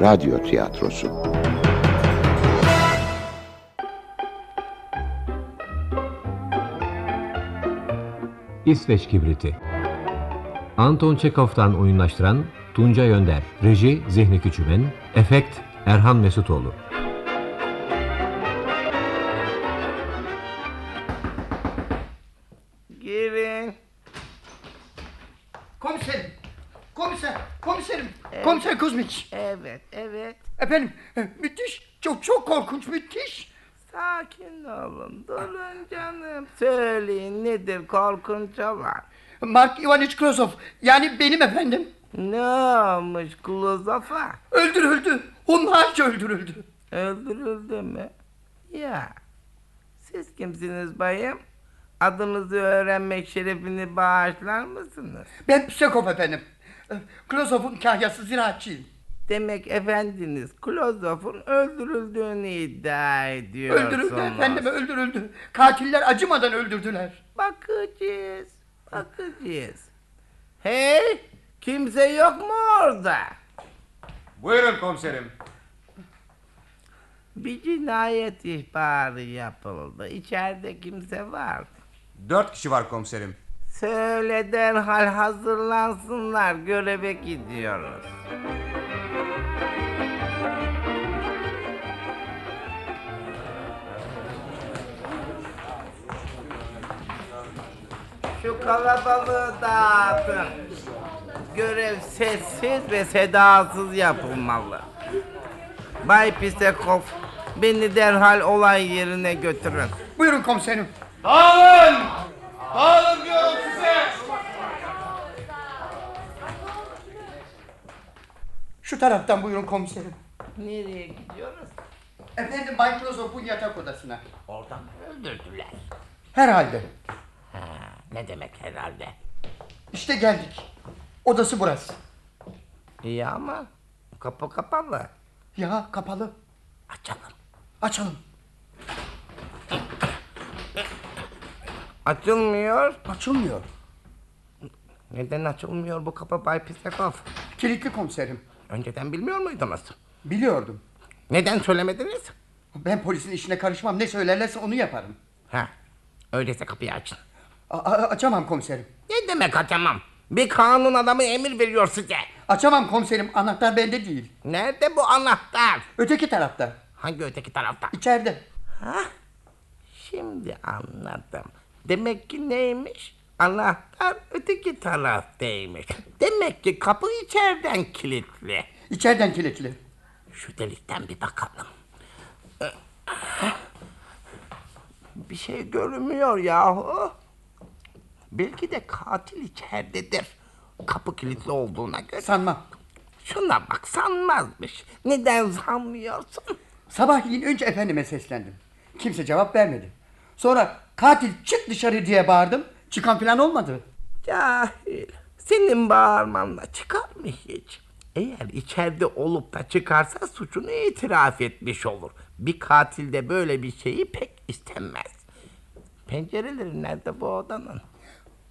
Radyo Tiyatrosu İsveç Kibriti Anton Çekov'tan oyunlaştıran Tunca Yönder Reji Zihni Küçümen Efekt Erhan Mesutoğlu Girin. Komiserim. Komiser. Komiserim. Komiser Kuzmiç. Evet, evet. Efendim e, müthiş. Çok çok korkunç müthiş. Sakin olun, durun canım. Söyleyin nedir korkunca var. Mark Ivanich Krozov. Yani benim efendim. Ne olmuş Kulozof'a? Öldürüldü. Hunharca öldürüldü. Öldürüldü mü? Ya. Siz kimsiniz bayım? Adınızı öğrenmek şerefini bağışlar mısınız? Ben Psekov efendim. E, Krozov'un kahyası ziraatçıyım. Demek efendiniz Kulozof'un öldürüldüğünü iddia ediyorsunuz. Öldürüldü efendim öldürüldü. Katiller acımadan öldürdüler. Bakacağız, bakacağız. Hey, kimse yok mu orada? Buyurun komiserim. Bir cinayet ihbarı yapıldı. İçeride kimse var. mı? Dört kişi var komiserim. Söyle derhal hazırlansınlar. Göreve gidiyoruz. Şu kalabalığı dağıtın. Görev sessiz ve sedasız yapılmalı. Bay Pisekov, beni derhal olay yerine götürün. Buyurun komiserim. Dağılın! Dağılın diyorum size! Şu taraftan buyurun komiserim. Nereye gidiyoruz? Efendim Bay Krozov'un yatak odasına. Oradan öldürdüler. Herhalde. Ne demek herhalde? İşte geldik. Odası burası. İyi ama kapı kapalı. Ya kapalı. Açalım. Açalım. Açılmıyor. Açılmıyor. Neden açılmıyor bu kapı Bay Pisakov? Kilitli komiserim. Önceden bilmiyor muydunuz? Biliyordum. Neden söylemediniz? Ben polisin işine karışmam. Ne söylerlerse onu yaparım. Ha, öyleyse kapıyı açın. A- a- açamam komiserim. Ne demek açamam? Bir kanun adamı emir veriyor size. Açamam komiserim. Anahtar bende değil. Nerede bu anahtar? Öteki tarafta. Hangi öteki tarafta? İçeride. Ha? Şimdi anladım. Demek ki neymiş? Anahtar öteki taraftaymış. Demek ki kapı içeriden kilitli. İçeriden kilitli. Şu delikten bir bakalım. Ee, Bir şey görünmüyor yahu. Belki de katil içeridedir. Kapı kilitli olduğuna göre. Sanmam. Şuna bak sanmazmış. Neden sanmıyorsun? Sabahleyin önce efendime seslendim. Kimse cevap vermedi. Sonra katil çık dışarı diye bağırdım. Çıkan falan olmadı. Cahil. Senin bağırmanla çıkar mı hiç? Eğer içeride olup da çıkarsa suçunu itiraf etmiş olur. Bir katil de böyle bir şeyi pek istemez. Pencereleri nerede bu odanın?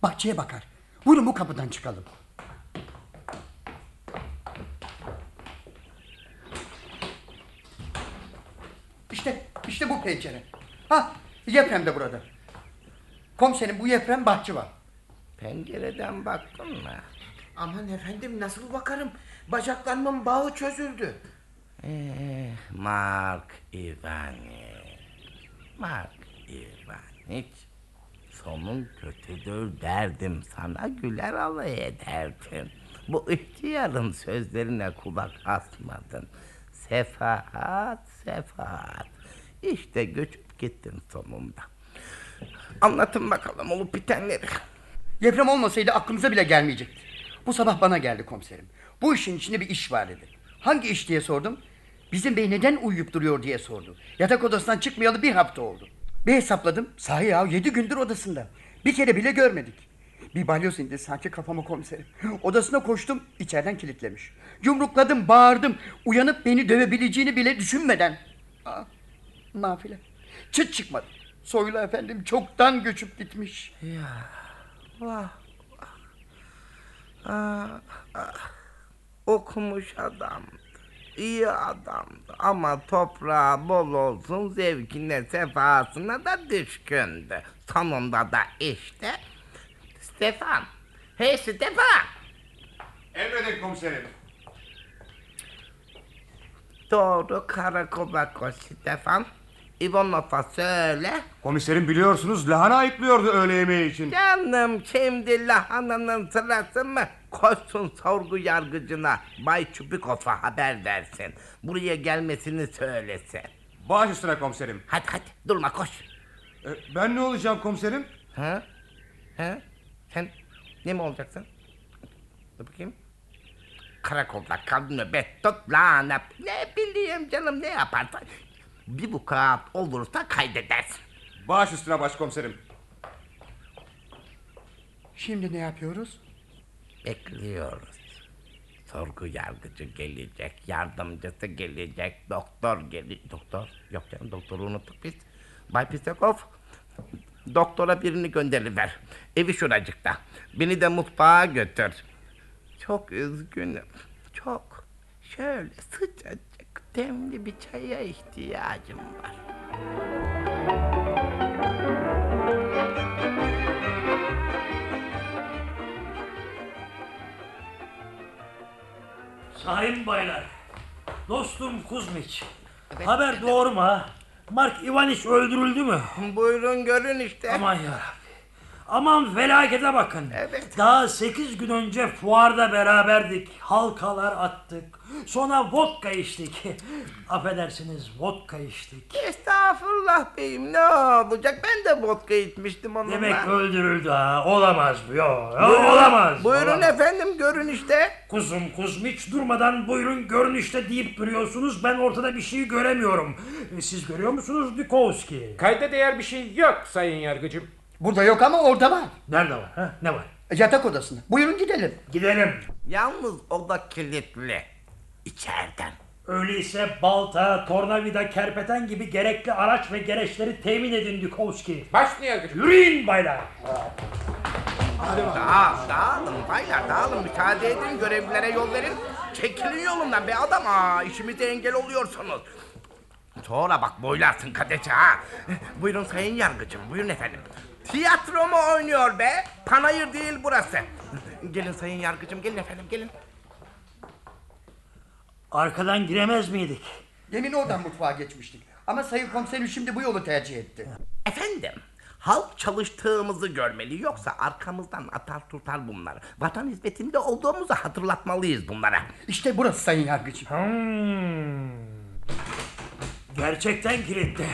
Bahçeye bakar. Buyurun bu kapıdan çıkalım. İşte, işte bu pencere. Ha, Yefrem de burada. Komiserim bu Yefrem bahçı var. Pencereden baktın mı? Aman efendim nasıl bakarım? Bacaklarımın bağı çözüldü. Ee, Mark Ivanich. Mark Ivanich. Sonun kötüdür derdim sana güler alay ederdin. Bu ihtiyarın sözlerine kulak asmadın. Sefahat, sefahat. İşte göçüp gittin sonunda. Anlatın bakalım olup bitenleri. Yefrem olmasaydı aklımıza bile gelmeyecekti. Bu sabah bana geldi komiserim. Bu işin içinde bir iş var dedi. Hangi iş diye sordum. Bizim bey neden uyuyup duruyor diye sordu. Yatak odasından çıkmayalı bir hafta oldu. Bir hesapladım. Sahi ya yedi gündür odasında. Bir kere bile görmedik. Bir balyoz indi sanki kafama komiserim. Odasına koştum içeriden kilitlemiş. Yumrukladım bağırdım. Uyanıp beni dövebileceğini bile düşünmeden. Aa, nafile. Çıt çıkmadı. Soylu efendim çoktan göçüp gitmiş. Vah, vah. Ah, ah. Okumuş adamdı. İyi adamdı ama toprağı bol olsun zevkine sefasına da düşkündü. Sonunda da işte Stefan. Hey Stefan. Emredin komiserim. Doğru karakola koş Stefan. İvanov'a söyle. Komiserim biliyorsunuz lahana ayıklıyordu öğle yemeği için. Canım şimdi lahananın sırası mı? Koşsun sorgu yargıcına Bay Çubikov'a haber versin. Buraya gelmesini söylesin. Baş üstüne komiserim. Hadi hadi durma koş. E, ben ne olacağım komiserim? Ha? Ha? Sen ne mi olacaksın? Dur bakayım. Karakolda kal nöbet tut lanet. Ne bileyim canım ne yaparsan. Bir bu kağıt olursa kaydedersin. Baş üstüne başkomiserim. Şimdi ne yapıyoruz? Bekliyoruz. Sorgu yargıcı gelecek, yardımcısı gelecek, doktor gelecek. Doktor? Yok canım doktoru unuttuk biz. Bay Pisakov, doktora birini gönderiver. Evi şuracıkta. Beni de mutfağa götür. Çok üzgünüm, çok. Şöyle sıcacık, demli bir çaya ihtiyacım var. Sayın baylar, dostum Kuzmiç, haber doğru mu ha? Mark Ivaniç öldürüldü mü? Buyurun görün işte. Aman yarabbim. Aman felakete bakın. Evet. Daha 8 gün önce fuarda beraberdik. Halkalar attık. Sonra vodka içtik. Affedersiniz vodka içtik. Estağfurullah beyim ne olacak? Ben de vodka içmiştim onunla. Demek öldürüldü ha. Olamaz bu. Yo, yo, olamaz. Buyurun olamaz. efendim görün işte. Kuzum kuzum hiç durmadan buyurun görün işte deyip duruyorsunuz. Ben ortada bir şey göremiyorum. E, Siz görüyor musunuz Dikovski? Kayda değer bir şey yok sayın yargıcım. Burada yok ama orada var. Nerede var? Ha? Ne var? Yatak odasında. Buyurun gidelim. Gidelim. Yalnız o da kilitli. İçeriden. Öyleyse balta, tornavida, kerpeten gibi gerekli araç ve gereçleri temin edin Dikovski. Başlı yargıcım. Yürüyün baylar. Dağ, dağılın baylar dağılın müsaade edin görevlilere yol verin. Çekilin yolumdan be adam aa işimize engel oluyorsunuz. Sonra bak boylarsın kadeçe ha. Buyurun sayın yargıcım buyurun efendim. Tiyatro mu oynuyor be? Panayır değil burası. Gelin sayın yargıcım gelin efendim gelin. Arkadan giremez miydik? Demin oradan mutfağa geçmiştik. Ama sayın komiserim şimdi bu yolu tercih etti. Efendim, halk çalıştığımızı görmeli yoksa arkamızdan atar tutar bunları. Vatan hizmetinde olduğumuzu hatırlatmalıyız bunlara. İşte burası sayın yargıcım. Hmm. Gerçekten kilitli.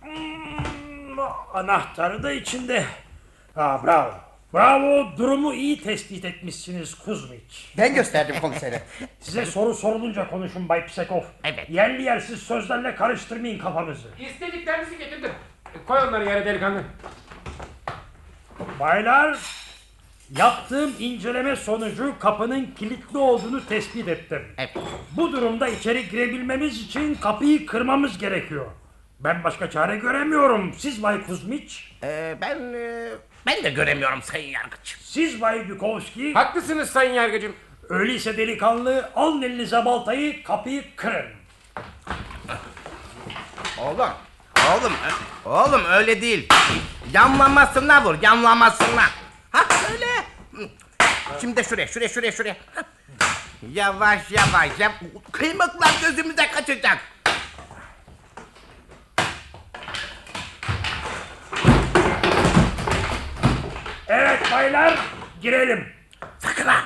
Hmm, anahtarı da içinde. Ha, bravo. Bravo durumu iyi tespit etmişsiniz Kuzmiç. Ben gösterdim komisere. Size soru sorulunca konuşun Bay Pisekov. Evet. Yerli yersiz sözlerle karıştırmayın kafamızı. İstediklerinizi getirdim. E, Koy onları yere delikanlı. Baylar, yaptığım inceleme sonucu kapının kilitli olduğunu tespit ettim. Evet. Bu durumda içeri girebilmemiz için kapıyı kırmamız gerekiyor. Ben başka çare göremiyorum. Siz Bay Kuzmiç, Ee, ben e, ben de göremiyorum sayın yargıç. siz Bay Dukovski. Haklısınız sayın yargıcım. Öyleyse delikanlı alın elinize baltayı kapıyı kırın. Oğlum, oğlum, ö- oğlum öyle değil. Yanlamasına vur, yanlamasına. Ha öyle. Şimdi de şuraya, şuraya, şuraya, şuraya. Hah. Yavaş yavaş yap. Kıymıklar gözümüze kaçacak. Evet baylar, girelim. Sakın ha!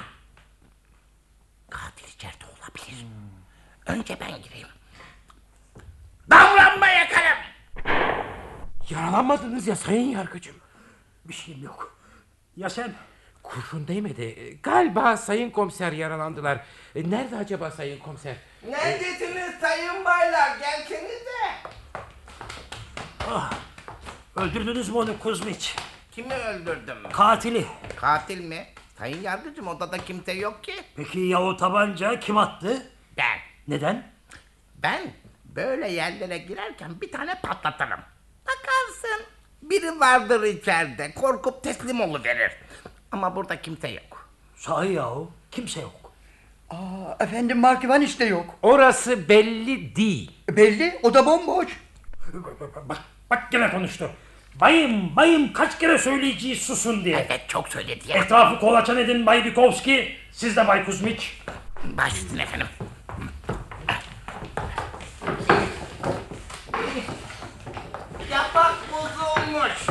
Katil içeride olabilir. Önce ben gireyim. Davranma yakarım! Yaralanmadınız ya sayın yargıcım. Bir şeyim yok. Ya sen? Kurşun değmedi. E, Galiba sayın komiser yaralandılar. E, Nerede acaba sayın komiser? E, Neredesiniz sayın baylar? Gelsenize! Öldürdünüz mü onu Kuzmiç? Kimi öldürdüm? Katili. Katil mi? Sayın yargıcım odada kimse yok ki. Peki ya o tabanca kim attı? Ben, Neden? ben böyle yerlere girerken bir tane patlatırım. Bakarsın biri vardır içeride korkup teslim oluverir. Ama burada kimse yok. Sahi yahu kimse yok. Aa, efendim Mark Ivaniç de yok. Orası belli değil. Belli o da bomboş. Bak, bak gene konuştu. Bayım, bayım kaç kere söyleyeceğiz susun diye. Evet çok söyledi ya. Etrafı kolaçan edin Bay Bikovski. Siz de Bay Kuzmiç. Baş üstüne efendim. Yapak bozulmuş.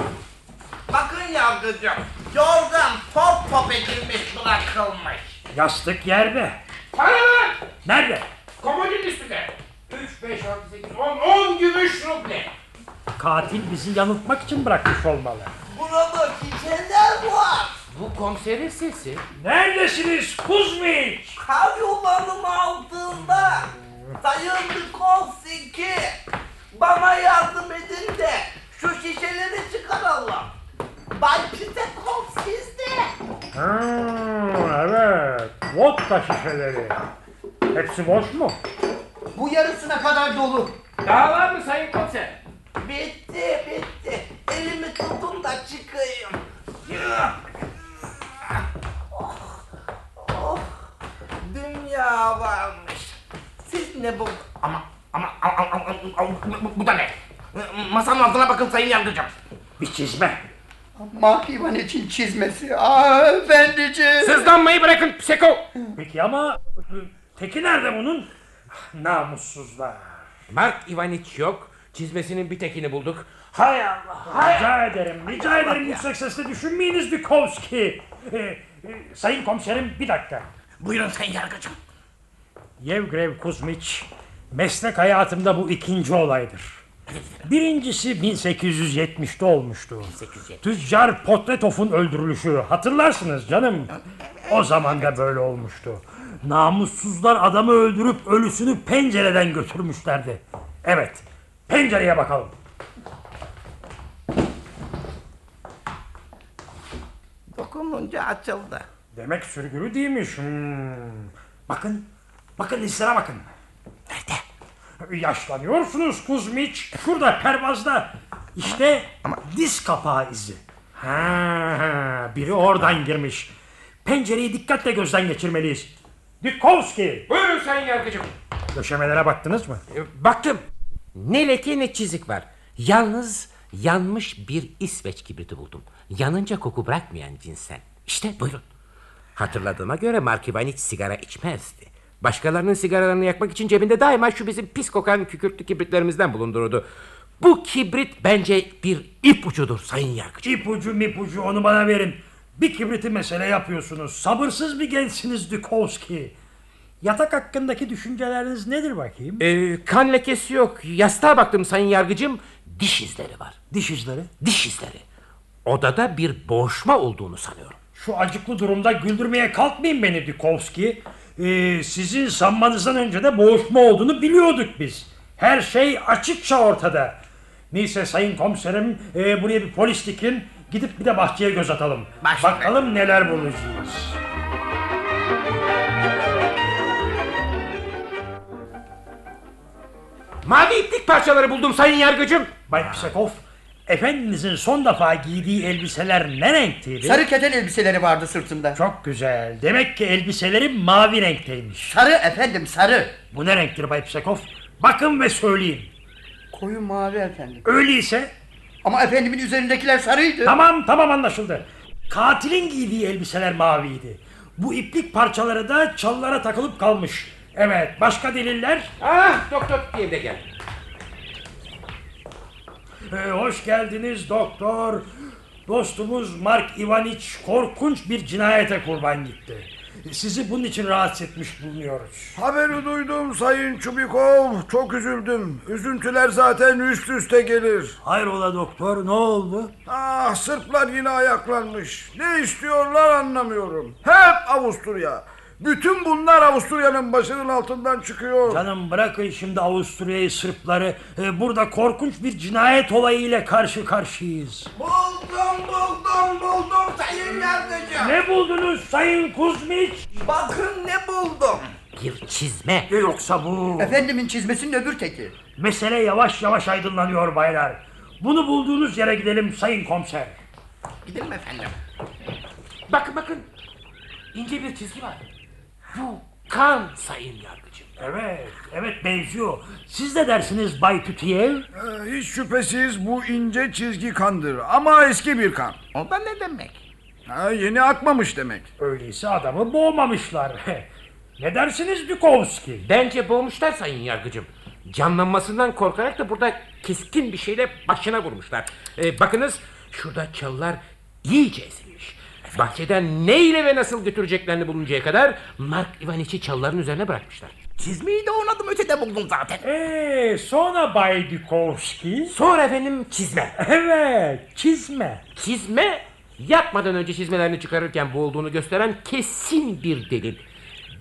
Bakın yavrucuğum. Yorgan top top edilmiş bırakılmış. Yastık yerde. Bana bak! Nerede? Komodin üstüne. 3, 5, 6, 8, 10, 10 gümüş ruble. Katil bizi yanıltmak için bırakmış olmalı. Burada çiçekler var. Bu komiserin sesi. Neredesiniz Kuzmiç? Kar yollarım altında. Sayın Dikovski. Bana yardım edin de şu şişeleri çıkaralım. Bay Pitekovski sizde. evet. Vodka şişeleri. Hepsi boş mu? Bu yarısına kadar dolu. Daha var mı sayın komiser? Bitti bitti. Elimi tutun da çıkayım. Oh, oh. Dünya varmış. Siz ne bu? Ama ama ama, ama, ama, bu, bu da ne? Masanın altına bakın sayın yargıcım. Bir çizme. Mark Ivaniç'in çizmesi. Aa, efendiciğim. Sızlanmayı bırakın Pseko. Peki ama ı, teki nerede bunun? Ah, Namussuzlar. Mark Ivaniç yok. Çizmesinin bir tekini bulduk. Hay Allah. Rica ederim, rica ederim yüksek sesle düşünmeyiniz Dikovski. Ee, e, sayın komiserim bir dakika. Buyurun sayın yargıcım. Yevgrev Kuzmiç, meslek hayatımda bu ikinci olaydır. Birincisi 1870'te olmuştu. Tüccar Potletov'un öldürülüşü. Hatırlarsınız canım. O zaman da böyle olmuştu. Namussuzlar adamı öldürüp ölüsünü pencereden götürmüşlerdi. Evet, pencereye bakalım. Dokununca açıldı. Demek sürgülü değilmiş. Hmm. Bakın, bakın listelere bakın. Nerede? Yaşlanıyorsunuz Kuzmiç. Şurada pervazda. İşte diz kapağı izi. Ha, biri oradan girmiş. Pencereyi dikkatle gözden geçirmeliyiz. Dikkovski, Buyurun sayın yargıcım. döşemelere baktınız mı? E, Baktım. Ne leke ne çizik var. Yalnız yanmış bir İsveç kibriti buldum. Yanınca koku bırakmayan cinsen. İşte buyurun. Hatırladığıma göre Mark Ivaniç sigara içmezdi. Başkalarının sigaralarını yakmak için cebinde daima şu bizim pis kokan kükürtlü kibritlerimizden bulundururdu. Bu kibrit bence bir ip ucudur sayın yargıcım. İpucu mipucu onu bana verin. Bir kibriti mesele yapıyorsunuz. Sabırsız bir gençsiniz Dükowski. Yatak hakkındaki düşünceleriniz nedir bakayım? Ee, kan lekesi yok. Yastığa baktım sayın yargıcım. Diş izleri var. Diş izleri. Diş izleri. Odada bir boğuşma olduğunu sanıyorum. Şu acıklı durumda güldürmeye kalkmayın beni Dikovski. Ee, sizin sanmanızdan önce de boğuşma olduğunu biliyorduk biz. Her şey açıkça ortada. Neyse sayın komiserim e, buraya bir polis dikin. Gidip bir de bahçeye göz atalım. Bakalım neler bulacağız. Mavi iplik parçaları buldum sayın yargıcım. Bay Pisakov, efendinizin son defa giydiği elbiseler ne renkteydi? Sarı keten elbiseleri vardı sırtında. Çok güzel. Demek ki elbiseleri mavi renkteymiş. Sarı efendim sarı. Bu ne renktir Bay Pisakov? Bakın ve söyleyin. Koyu mavi efendim. Öyleyse Ama efendimin üzerindekiler sarıydı. Tamam tamam anlaşıldı. Katilin giydiği elbiseler maviydi. Bu iplik parçaları da çalılara takılıp kalmış. Evet başka deliller? Ah doktor diye de gel. Ee, hoş geldiniz doktor. Dostumuz Mark Ivaniç korkunç bir cinayete kurban gitti. Sizi bunun için rahatsız etmiş bulunuyoruz. Haberi duydum Sayın Çubikov. Çok üzüldüm. Üzüntüler zaten üst üste gelir. Hayrola doktor ne oldu? Ah Sırplar yine ayaklanmış. Ne istiyorlar anlamıyorum. Hep Avusturya. Bütün bunlar Avusturya'nın başının altından çıkıyor. Canım bırakın şimdi Avusturya'yı Sırpları. Ee, burada korkunç bir cinayet olayı ile karşı karşıyayız. Buldum buldum buldum sayın yargıcım. Ne buldunuz Sayın Kuzmiç? Bakın ne buldum. Bir çizme. Yoksa bu... Efendimin çizmesinin öbür teki. Mesele yavaş yavaş aydınlanıyor baylar. Bunu bulduğunuz yere gidelim sayın komiser. Gidelim efendim. Bakın bakın. İnce bir çizgi var. Bu kan sayın yargıcım. Evet, evet benziyor. Siz de dersiniz Bay Tütüyev. Ee, hiç şüphesiz bu ince çizgi kandır ama eski bir kan. O da ne demek? Ha, yeni akmamış demek. Öyleyse adamı boğmamışlar. ne dersiniz Dukovski? Bence boğmuşlar sayın yargıcım. Canlanmasından korkarak da burada keskin bir şeyle başına vurmuşlar. Ee, bakınız şurada çalılar iyice ezilmiş. Bahçeden neyle ve nasıl götüreceklerini buluncaya kadar Mark Ivanich'i çalıların üzerine bırakmışlar. Çizmeyi de on adım ötede buldum zaten. Eee Ee, sonra Bay Dukovski. Sonra efendim çizme. Evet, çizme. Çizme yapmadan önce çizmelerini çıkarırken boğulduğunu gösteren kesin bir delil.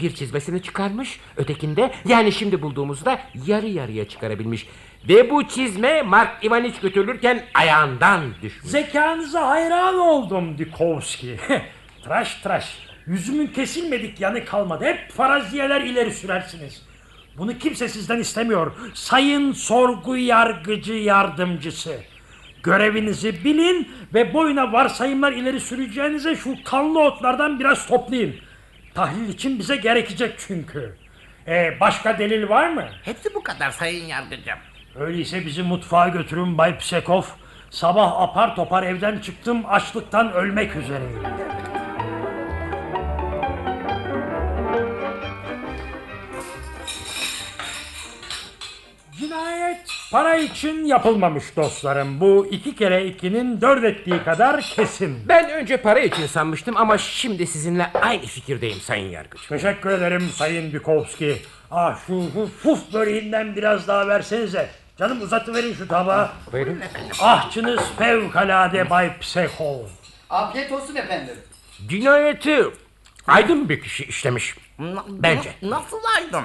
Bir çizmesini çıkarmış, ötekinde yani şimdi bulduğumuzda yarı yarıya çıkarabilmiş. Ve bu çizme Mark Ivanich götürülürken ayağından düşmüş. Zekanıza hayran oldum Dukovski. tıraş tıraş. Yüzümün kesilmedik yanı kalmadı. Hep faraziyeler ileri sürersiniz. Bunu kimse sizden istemiyor. Sayın sorgu yargıcı yardımcısı. Görevinizi bilin ve boyuna varsayımlar ileri süreceğinize şu kanlı otlardan biraz toplayın. Tahlil için bize gerekecek çünkü. Ee, başka delil var mı? Hepsi bu kadar sayın yargıcım. Öyleyse bizi mutfağa götürün Bay Psekov. Sabah apar topar evden çıktım açlıktan ölmek üzereyim. Cinayet para için yapılmamış dostlarım. Bu iki kere ikinin dört ettiği kadar kesin. Ben önce para için sanmıştım ama şimdi sizinle aynı fikirdeyim sayın yargıç. Teşekkür ederim Sayın Bikovski. Ah şu, şu fuf böreğinden biraz daha versenize. Canım uzatıverin şu tabağı. Buyurun. Ahçınız fevkalade Bay Psekov. Afiyet olsun efendim. Cinayeti aydın bir kişi işlemiş. Na- Bence. na- nasıl aydın?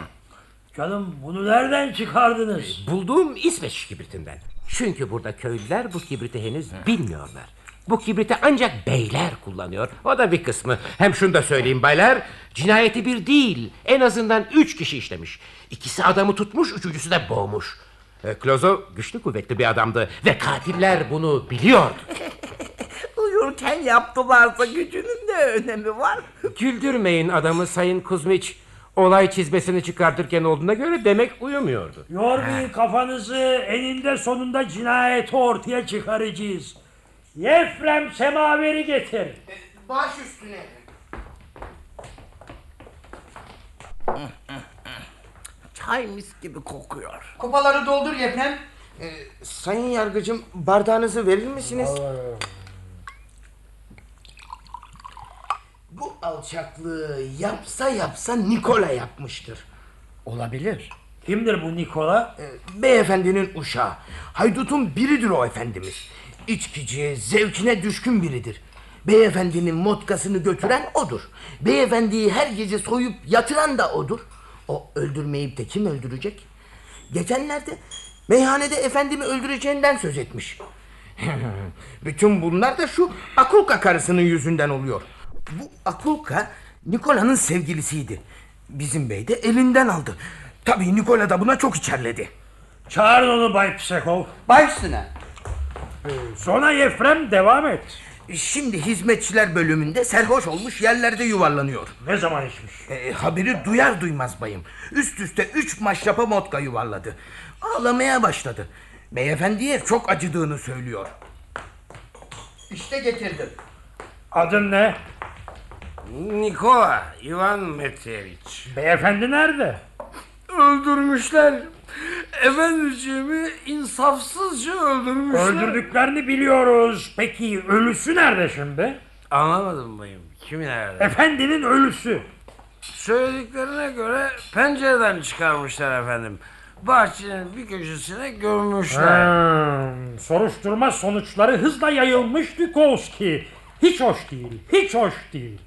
Canım bunu nereden çıkardınız? Bulduğum İsveç kibritinden. Çünkü burada köylüler bu kibriti henüz bilmiyorlar. Bu kibriti ancak beyler kullanıyor. O da bir kısmı. Hem şunu da söyleyeyim baylar. Cinayeti bir değil. En azından üç kişi işlemiş. İkisi adamı tutmuş, üçüncüsü de boğmuş. E, Klozo güçlü kuvvetli bir adamdı. Ve katiller bunu biliyordu. Uyurken yaptılarsa gücünün ne önemi var? Güldürmeyin adamı Sayın Kuzmiç. Olay çizmesini çıkartırken olduğuna göre demek uyumuyordu. Yormayın kafanızı eninde sonunda cinayeti ortaya çıkaracağız. Yefrem semaveri getir. Baş üstüne. Çay mis gibi kokuyor. Kupaları doldur Yefrem. Ee, Sayın yargıcım bardağınızı verir misiniz? Bu alçaklığı yapsa yapsa Nikola yapmıştır. Ee, Olabilir. Kimdir bu Nikola? Beyefendinin uşağı. Haydutun biridir o efendimiz. İçkici, zevkine düşkün biridir. Beyefendinin motkasını götüren odur. Beyefendiyi her gece soyup yatıran da odur. O öldürmeyip de kim öldürecek? Geçenlerde meyhanede efendimi öldüreceğinden söz etmiş. Bütün bunlar da şu Akulka karısının yüzünden oluyor. Bu Akulka Nikola'nın sevgilisiydi. Bizim bey de elinden aldı. Tabii Nikola da buna çok içerledi. Çağırın onu Bay Psekov. Baş üstüne. Sonra Yefrem devam et. Şimdi hizmetçiler bölümünde serhoş olmuş yerlerde yuvarlanıyor. Ne zaman içmiş? E, haberi duyar duymaz bayım. Üst üste üç maşrapa modka yuvarladı. Ağlamaya başladı. Beyefendiye çok acıdığını söylüyor. İşte getirdim. Adın ne? Nikola Ivan Meteviç. Beyefendi nerede? Öldürmüşler. Efendiciğimi insafsızca öldürmüşler. Öldürdüklerini biliyoruz. Peki ölüsü nerede şimdi? Anlamadım bayım. Kim nerede? Efendinin ölüsü. Söylediklerine göre pencereden çıkarmışlar efendim. Bahçenin bir köşesine gömmüşler. Hmm, soruşturma sonuçları hızla yayılmış Dukovski. Hiç hoş değil, hiç hoş değil.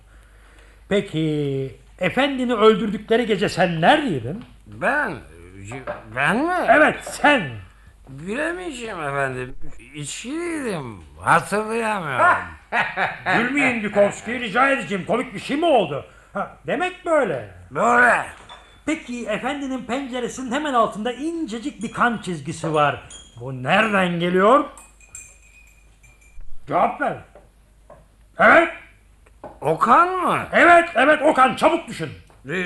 Peki, efendini öldürdükleri gece sen neredeydin? Ben, ben mi? Evet, sen. Bilemeyeceğim efendim. İçkiliydim. Hatırlayamıyorum. Gülmeyin Dukovski, rica edeceğim. Komik bir şey mi oldu? Ha, demek böyle. Böyle. Peki, efendinin penceresinin hemen altında incecik bir kan çizgisi var. Bu nereden geliyor? Cevap ver. Evet, Okan mı? evet, evet Okan çabuk düşün. Ee,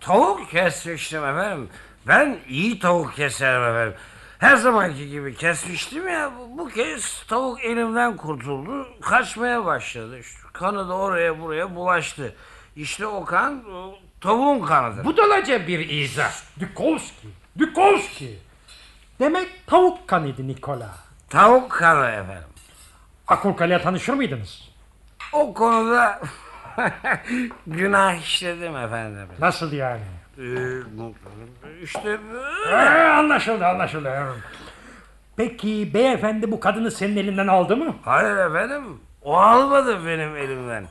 Tavuk kesmiştim efendim. Ben iyi tavuk keserim efendim. Her zamanki gibi kesmiştim ya. Bu, bu kez tavuk elimden kurtuldu. Kaçmaya başladı. İşte kanı da oraya buraya bulaştı. İşte o kan o tavuğun kanıdır. Budalaca bir izah. Dukovski, Dukovski. Demek tavuk kanıydı Nikola. Tavuk kanı efendim. Akurkale'ye tanışır mıydınız? O konuda günah işledim efendim. Nasıl yani? Ee, bu- işte Ee, anlaşıldı anlaşıldı. Peki beyefendi bu kadını senin elinden aldı mı? Hayır efendim. O almadı benim elimden.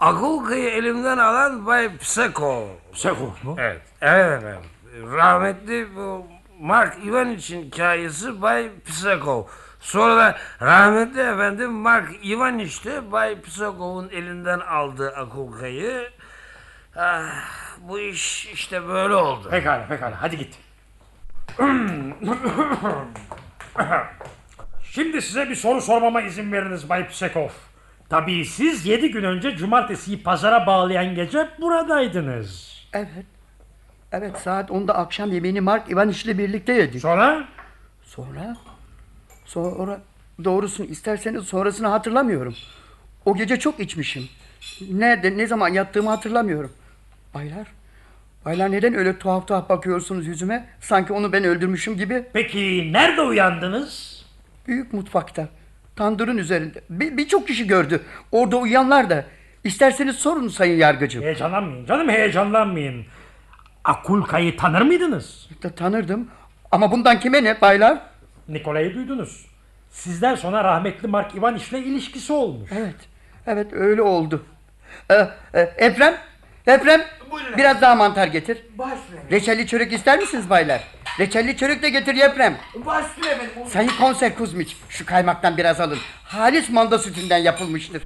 Agulka'yı elimden alan Bay Pseko. Sekol mu? Evet. Evet efendim. Rahmetli bu Mark Ivan için kayısı Bay Psakov. Sonra da rahmetli efendim Mark Ivan işte Bay Psakov'un elinden aldığı Akulka'yı. Ah, bu iş işte böyle oldu. Pekala pekala hadi git. Şimdi size bir soru sormama izin veriniz Bay Psekov. Tabii siz yedi gün önce cumartesiyi pazara bağlayan gece buradaydınız. Evet. Evet saat 10'da akşam yemeğini Mark ile birlikte yedik. Sonra? Sonra? Sonra doğrusunu isterseniz sonrasını hatırlamıyorum. O gece çok içmişim. Nerede ne zaman yattığımı hatırlamıyorum. Baylar, baylar neden öyle tuhaf tuhaf bakıyorsunuz yüzüme? Sanki onu ben öldürmüşüm gibi. Peki nerede uyandınız? Büyük mutfakta. Tandırın üzerinde. Bir- Birçok kişi gördü. Orada uyuyanlar da. İsterseniz sorun sayın yargıcım. Heyecanlanmayın canım heyecanlanmayın. Akulka'yı tanır mıydınız? Ta- Tanırdım. Ama bundan kime ne baylar? Nikola'yı duydunuz. Sizden sonra rahmetli Mark Ivaniş'le ilişkisi olmuş. Evet. Evet öyle oldu. Ee, e, Eprem. Eprem. Biraz daha mantar getir. Reçelli çörek ister misiniz baylar? Reçelli çörek de getir Eprem. Başlıyor efendim. Sayın konser Kuzmiç. Şu kaymaktan biraz alın. Halis manda sütünden yapılmıştır.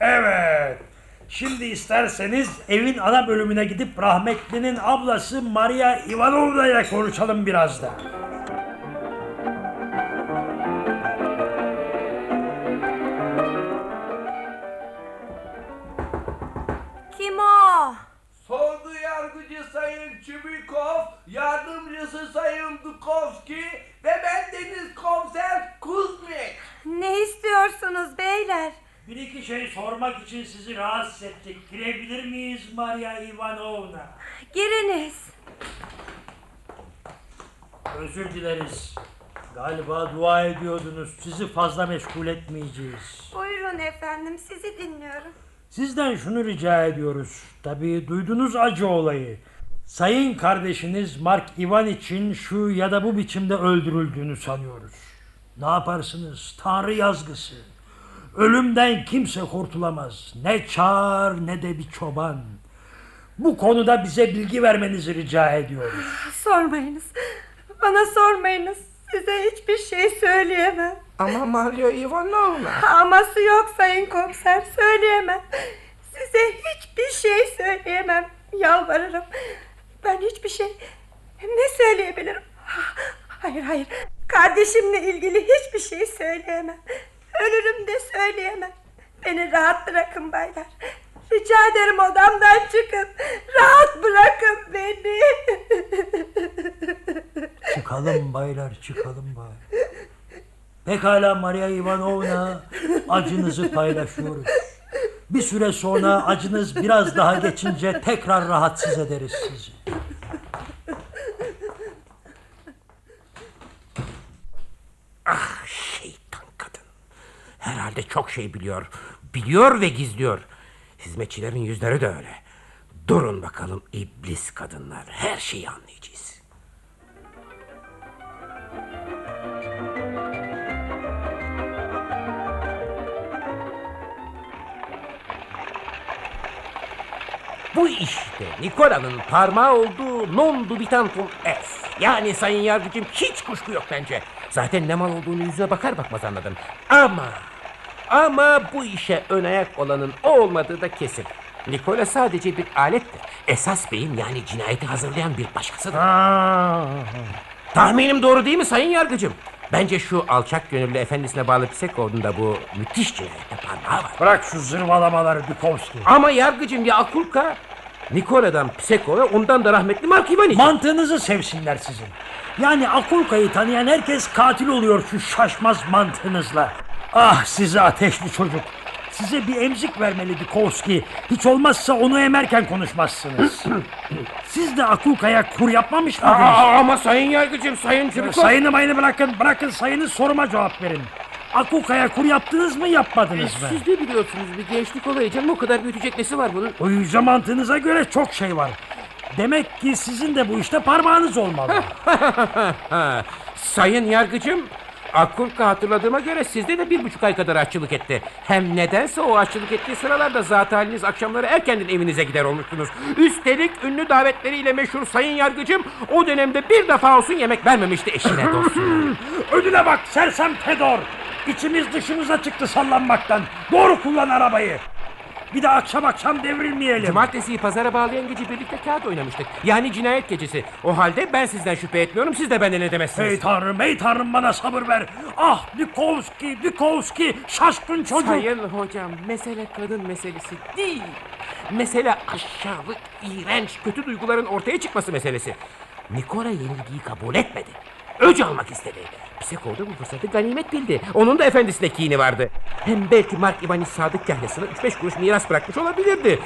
Evet. Şimdi isterseniz evin ana bölümüne gidip rahmetlinin ablası Maria Ivanovna ile konuşalım biraz da. Kim o? Sordu yargıcı Sayın Çubikov, yardımcısı Sayın Dukovski ve ben Deniz Komiser Kuzmik. Ne istiyorsunuz beyler? Bir iki şey sormak için sizi rahatsız ettik. Girebilir miyiz Maria Ivanovna? Giriniz. Özür dileriz. Galiba dua ediyordunuz. Sizi fazla meşgul etmeyeceğiz. Buyurun efendim sizi dinliyorum. Sizden şunu rica ediyoruz. Tabii duydunuz acı olayı. Sayın kardeşiniz Mark Ivan için şu ya da bu biçimde öldürüldüğünü sanıyoruz. Ne yaparsınız? Tanrı yazgısı. Ölümden kimse kurtulamaz. Ne çağır ne de bir çoban. Bu konuda bize bilgi vermenizi rica ediyoruz. Sormayınız. Bana sormayınız. Size hiçbir şey söyleyemem. Ama Mario Ivanovna. Aması yok sayın komiser söyleyemem. Size hiçbir şey söyleyemem. Yalvarırım. Ben hiçbir şey ne söyleyebilirim? Hayır hayır. Kardeşimle ilgili hiçbir şey söyleyemem. Ölürüm de söyleyemem. Beni rahat bırakın baylar. Rica ederim odamdan çıkın. Rahat bırakın beni. Çıkalım baylar çıkalım baylar. Pekala Maria Ivanovna acınızı paylaşıyoruz. Bir süre sonra acınız biraz daha geçince tekrar rahatsız ederiz sizi. Şeytan kadın. Herhalde çok şey biliyor. Biliyor ve gizliyor. Hizmetçilerin yüzleri de öyle. Durun bakalım iblis kadınlar. Her şeyi anlayacağız. Bu işte Nikola'nın parmağı olduğu non dubitantum es. Yani sayın yargıcım hiç kuşku yok bence. Zaten ne mal olduğunu yüzüne bakar bakmaz anladım. Ama ama bu işe ön ayak olanın o olmadığı da kesin. Nikola sadece bir alettir. Esas beyim yani cinayeti hazırlayan bir başkasıdır. Tahminim doğru değil mi sayın yargıcım? Bence şu alçak gönüllü efendisine bağlı Pisekov'un da bu müthiş cinayette parmağı var. Bırak şu zırvalamaları Dukovski. Ama yargıcım ya Akulka Nikola'dan Pisekov'a ondan da rahmetli Mark Ivanich. Mantığınızı sevsinler sizin. Yani Akulka'yı tanıyan herkes katil oluyor şu şaşmaz mantığınızla. Ah size ateşli çocuk. Size bir emzik vermeli Dukovski. Hiç olmazsa onu emerken konuşmazsınız. Siz de Akulka'ya kur yapmamış mıydınız? ama sayın yargıcım sayın Çubukov. Sayını mayını bırakın. Bırakın sayını soruma cevap verin. Akuka'ya kur yaptınız mı yapmadınız mı? Siz de biliyorsunuz bir gençlik olayı canım o kadar büyütecek nesi var bunun? O yüce mantığınıza göre çok şey var. Demek ki sizin de bu işte parmağınız olmalı. sayın yargıcım Akulka hatırladığıma göre sizde de bir buçuk ay kadar açılık etti. Hem nedense o açılık ettiği sıralarda zat haliniz akşamları erkenden evinize gider olmuştunuz. Üstelik ünlü davetleriyle meşhur sayın yargıcım o dönemde bir defa olsun yemek vermemişti eşine dostuna. Önüne bak sersem Fedor. İçimiz dışımıza çıktı sallanmaktan. Doğru kullan arabayı. Bir de akşam akşam devrilmeyelim. Cumartesiyi pazara bağlayan gece birlikte kağıt oynamıştık. Yani cinayet gecesi. O halde ben sizden şüphe etmiyorum, siz de benden edemezsiniz. Ey tanrım, ey tanrım bana sabır ver. Ah Dukovski, Dukovski şaşkın çocuk. Sayın hocam, mesele kadın meselesi değil. Mesele aşağılık, iğrenç, kötü duyguların ortaya çıkması meselesi. Nikola yenilgiyi kabul etmedi. Öc almak istedi. Psekov da bu fırsatı ganimet bildi. Onun da efendisine kini vardı. Hem belki Mark Ivanis Sadık kahyasına 3-5 kuruş miras bırakmış olabilirdi.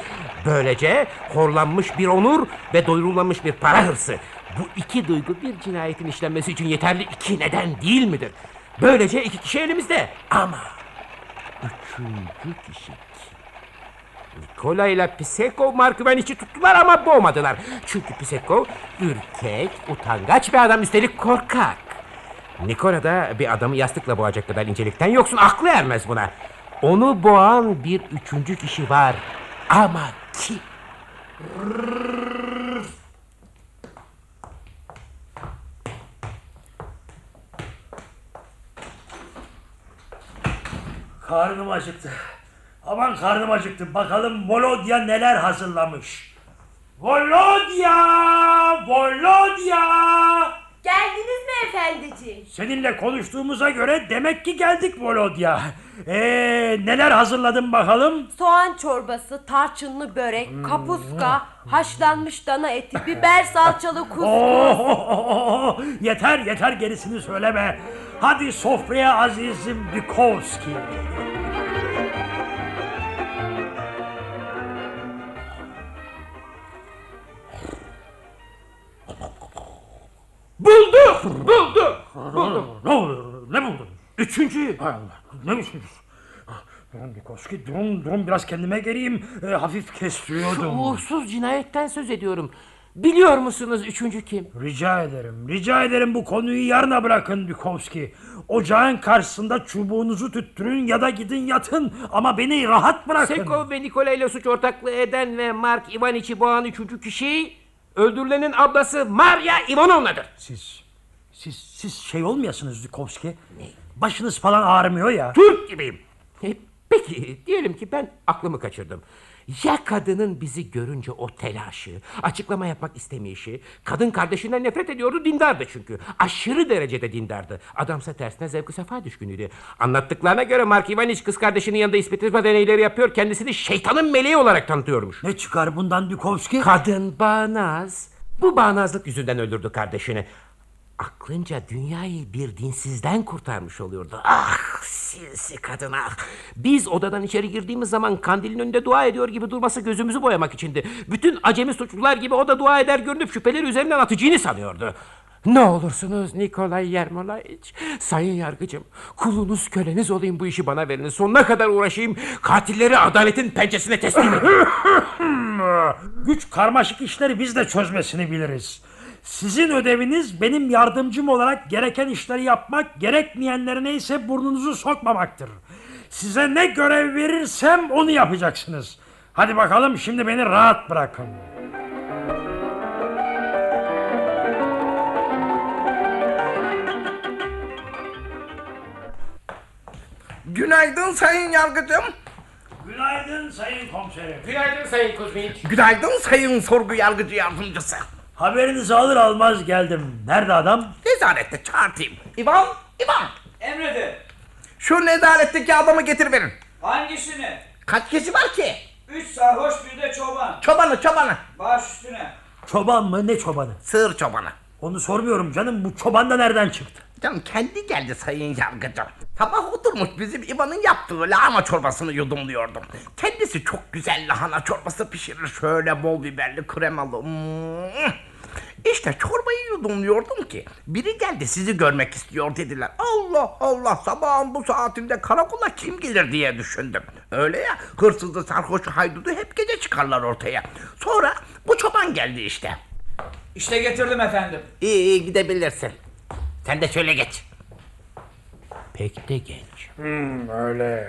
Böylece horlanmış bir onur ve doyurulmamış bir para hırsı. Bu iki duygu bir cinayetin işlenmesi için yeterli iki neden değil midir? Böylece iki kişi elimizde. Ama Üçüncü kişi kim? Nikola ile Pisekov Markıvaniç'i tuttular ama boğmadılar. Çünkü Pisekov ürkek, utangaç bir adam üstelik korkak. Nikola da bir adamı yastıkla boğacak kadar incelikten yoksun. Aklı ermez buna. Onu boğan bir üçüncü kişi var. Ama kim? Karnım acıktı. Aman karnım acıktı. Bakalım Volodya neler hazırlamış. Volodya! Volodya! Geldiniz mi efendiciğim? Seninle konuştuğumuza göre demek ki geldik Volodya. Ee, neler hazırladın bakalım? Soğan çorbası, tarçınlı börek, kapuska, haşlanmış dana eti, biber salçalı kuskus. Oo, Oh, yeter yeter gerisini söyleme. Hadi sofraya azizim Bikovski. Bulduk! Bulduk! Bulduk! Ne oluyor? Ne buldun? Üçüncüyü. Hay Allah. Ne Ah, biçim? Durun Bikovski durun durun biraz kendime geleyim. Ee, hafif Şu kestiriyordum. uğursuz cinayetten söz ediyorum. Biliyor musunuz üçüncü kim? Rica ederim, rica ederim bu konuyu yarına bırakın Dukovski. Ocağın karşısında çubuğunuzu tüttürün ya da gidin yatın ama beni rahat bırakın. Sekov ve Nikola ile suç ortaklığı eden ve Mark Ivanich'i boğan üçüncü kişi öldürülenin ablası Maria Ivanovna'dır. Siz, siz, siz şey olmayasınız Dukovski. Başınız falan ağrımıyor ya. Türk gibiyim. E, peki diyelim ki ben aklımı kaçırdım. Ya kadının bizi görünce o telaşı, açıklama yapmak istemeyişi, kadın kardeşinden nefret ediyordu, dindardı çünkü. Aşırı derecede dindardı. Adamsa tersine zevk sefa düşkünüydü. Anlattıklarına göre Mark Ivanich kız kardeşinin yanında ispitizma deneyleri yapıyor, kendisini şeytanın meleği olarak tanıtıyormuş. Ne çıkar bundan Dukovski? Kadın bağnaz. Bu bağnazlık yüzünden öldürdü kardeşini. Aklınca dünyayı bir dinsizden kurtarmış oluyordu. Ah sinsi kadın ah. Biz odadan içeri girdiğimiz zaman kandilin önünde dua ediyor gibi durması gözümüzü boyamak içindi. Bütün acemi suçlular gibi o da dua eder görünüp şüpheleri üzerinden atacağını sanıyordu. Ne olursunuz Nikolay Yermolayiç. Sayın yargıcım kulunuz köleniz olayım bu işi bana verin. Sonuna kadar uğraşayım. Katilleri adaletin pençesine teslim edin. Güç karmaşık işleri biz de çözmesini biliriz. Sizin ödeviniz benim yardımcım olarak gereken işleri yapmak, gerekmeyenlerine ise burnunuzu sokmamaktır. Size ne görev verirsem onu yapacaksınız. Hadi bakalım şimdi beni rahat bırakın. Günaydın sayın yargıcım. Günaydın sayın komiserim. Günaydın Sayın Kuzmiç. Günaydın sayın sorgu yargıcı yardımcısı. Haberinizi alır almaz geldim. Nerede adam? Nezarette çağırtayım. İvan İmam Emredin. şu nezaletteki adamı getir verin. Hangisini? Kaç kişi var ki? Üç sarhoş bir de çoban. Çobanı çobanı. Baş üstüne. Çoban mı ne çobanı? Sığır çobanı. Onu sormuyorum canım bu çoban da nereden çıktı? Canım kendi geldi sayın yargıcım. Sabah oturmuş bizim İvan'ın yaptığı lahana çorbasını yudumluyordum. Kendisi çok güzel lahana çorbası pişirir. Şöyle bol biberli kremalı. Mm. İşte çorbayı yudumluyordum ki biri geldi sizi görmek istiyor dediler. Allah Allah sabahın bu saatinde karakola kim gelir diye düşündüm. Öyle ya hırsızı sarhoşu haydudu hep gece çıkarlar ortaya. Sonra bu çoban geldi işte. İşte getirdim efendim. İyi iyi gidebilirsin. Sen de şöyle geç. Pek de genç. Hmm, öyle.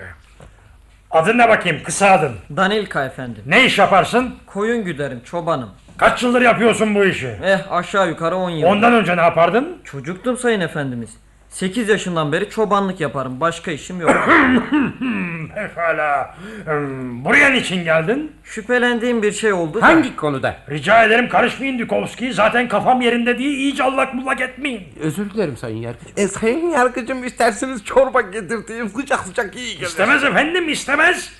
Adın ne bakayım kısa adın? Danilka efendim. Ne iş yaparsın? Koyun güderim çobanım. Kaç yıldır yapıyorsun bu işi? Eh aşağı yukarı 10 yıl. Ondan önce ne yapardın? Çocuktum sayın efendimiz. 8 yaşından beri çobanlık yaparım. Başka işim yok. Pekala. Hmm, Buraya niçin geldin? Şüphelendiğim bir şey oldu. Hangi konuda? Rica ederim karışmayın Dukovski. Zaten kafam yerinde değil. İyice allak bullak etmeyin. Özür dilerim sayın yargıç. E, sayın yargıcım isterseniz çorba getirteyim sıcak sıcak iyi gelir. İstemez efendim istemez.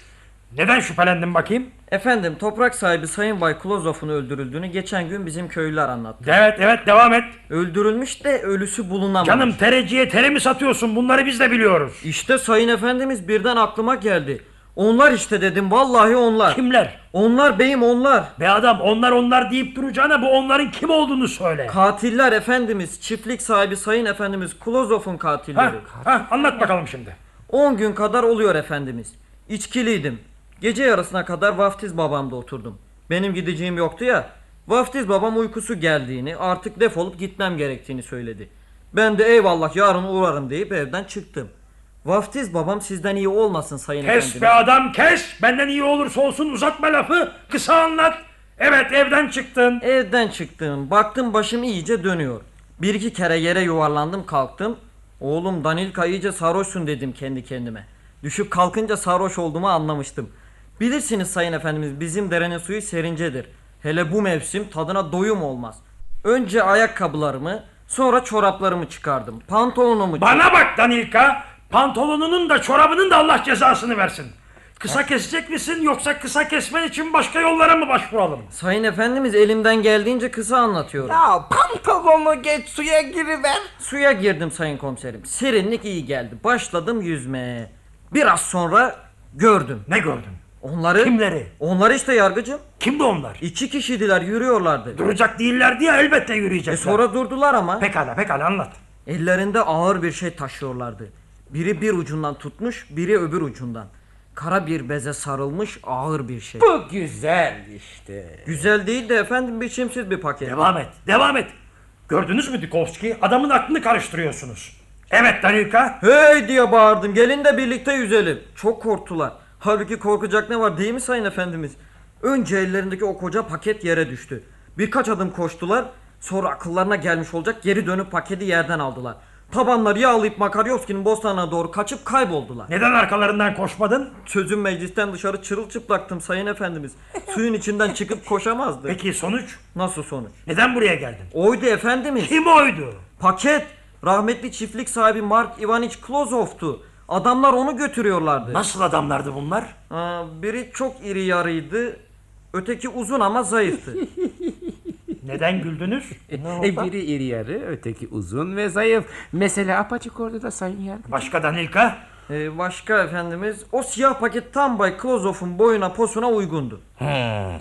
Neden şüphelendin bakayım? Efendim toprak sahibi Sayın Bay Klozov'un öldürüldüğünü geçen gün bizim köylüler anlattı. Evet evet devam et. Öldürülmüş de ölüsü bulunamamış. Canım tereciye tere mi satıyorsun? Bunları biz de biliyoruz. İşte sayın efendimiz birden aklıma geldi. Onlar işte dedim vallahi onlar. Kimler? Onlar beyim onlar. Be adam onlar onlar deyip duracağına bu onların kim olduğunu söyle. Katiller efendimiz, çiftlik sahibi sayın efendimiz Klozov'un katilleri. Ha, anlat bakalım şimdi. 10 gün kadar oluyor efendimiz. İçkiliydim. Gece yarısına kadar vaftiz babamda oturdum. Benim gideceğim yoktu ya. Vaftiz babam uykusu geldiğini, artık defolup gitmem gerektiğini söyledi. Ben de eyvallah yarın uğrarım deyip evden çıktım. Vaftiz babam sizden iyi olmasın sayın Kes efendimiz. be adam kes. Benden iyi olursa olsun uzatma lafı. Kısa anlat. Evet evden çıktın. Evden çıktım. Baktım başım iyice dönüyor. Bir iki kere yere yuvarlandım kalktım. Oğlum Danilka iyice sarhoşsun dedim kendi kendime. Düşüp kalkınca sarhoş olduğumu anlamıştım. Bilirsiniz sayın efendimiz bizim derenin suyu serincedir. Hele bu mevsim tadına doyum olmaz. Önce ayakkabılarımı sonra çoraplarımı çıkardım. Pantolonumu Bana bak Danilka. Pantolonunun da çorabının da Allah cezasını versin. Kısa kesecek misin yoksa kısa kesmen için başka yollara mı başvuralım? Sayın efendimiz elimden geldiğince kısa anlatıyorum. Ya pantolonu geç suya giriver. Suya girdim sayın komiserim. Serinlik iyi geldi. Başladım yüzmeye. Biraz sonra gördüm. Ne gördün? Onları. Kimleri? Onları işte yargıcım. Kimdi onlar? İki kişiydiler yürüyorlardı. Duracak değillerdi ya elbette yürüyecekler. E sonra durdular ama. Pekala pekala anlat. Ellerinde ağır bir şey taşıyorlardı. Biri bir ucundan tutmuş, biri öbür ucundan. Kara bir beze sarılmış ağır bir şey. Bu güzel işte. Güzel değil de efendim biçimsiz bir paket. Devam et, devam et. Gördünüz mü Dikovski? Adamın aklını karıştırıyorsunuz. Evet Danilka. Hey diye bağırdım. Gelin de birlikte yüzelim. Çok korktular. Halbuki korkacak ne var değil mi sayın efendimiz? Önce ellerindeki o koca paket yere düştü. Birkaç adım koştular. Sonra akıllarına gelmiş olacak geri dönüp paketi yerden aldılar. Tabanları yağlayıp Makaryovski'nin bostanına doğru kaçıp kayboldular. Neden arkalarından koşmadın? Sözüm meclisten dışarı çırılçıplaktım sayın efendimiz. Suyun içinden çıkıp koşamazdı. Peki sonuç? Nasıl sonuç? Neden buraya geldin? Oydu efendimiz. Kim oydu? Paket. Rahmetli çiftlik sahibi Mark Ivanich Klozov'tu. Adamlar onu götürüyorlardı. Nasıl adamlardı bunlar? Aa, biri çok iri yarıydı. Öteki uzun ama zayıftı. Neden güldünüz? E, biri iri yarı, öteki uzun ve zayıf. Mesele apaçık orada da sayın yargıç. Başka Danilka? Ee, başka efendimiz o siyah paket tam Bay Klozov'un boyuna posuna uygundu. Hmm,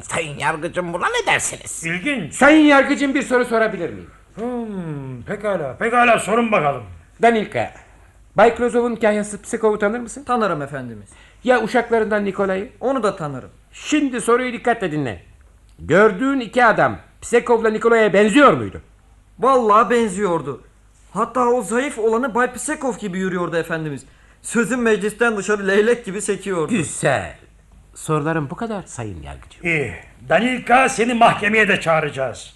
sayın yargıcım buna ne dersiniz? İlginç. Sayın yargıcım bir soru sorabilir miyim? Hmm, pekala, pekala sorun bakalım. Danilka, Bay Klozov'un kahyası Psikov'u tanır mısın? Tanırım efendimiz. Ya uşaklarından Nikolay'ı? Onu da tanırım. Şimdi soruyu dikkatle dinle. Gördüğün iki adam Psikov'la Nikolay'a benziyor muydu? Vallahi benziyordu. Hatta o zayıf olanı Bay Pisekov gibi yürüyordu efendimiz. Sözün meclisten dışarı leylek gibi sekiyordu. Güzel. Sorularım bu kadar sayın yargıcım. İyi. Danilka seni mahkemeye de çağıracağız.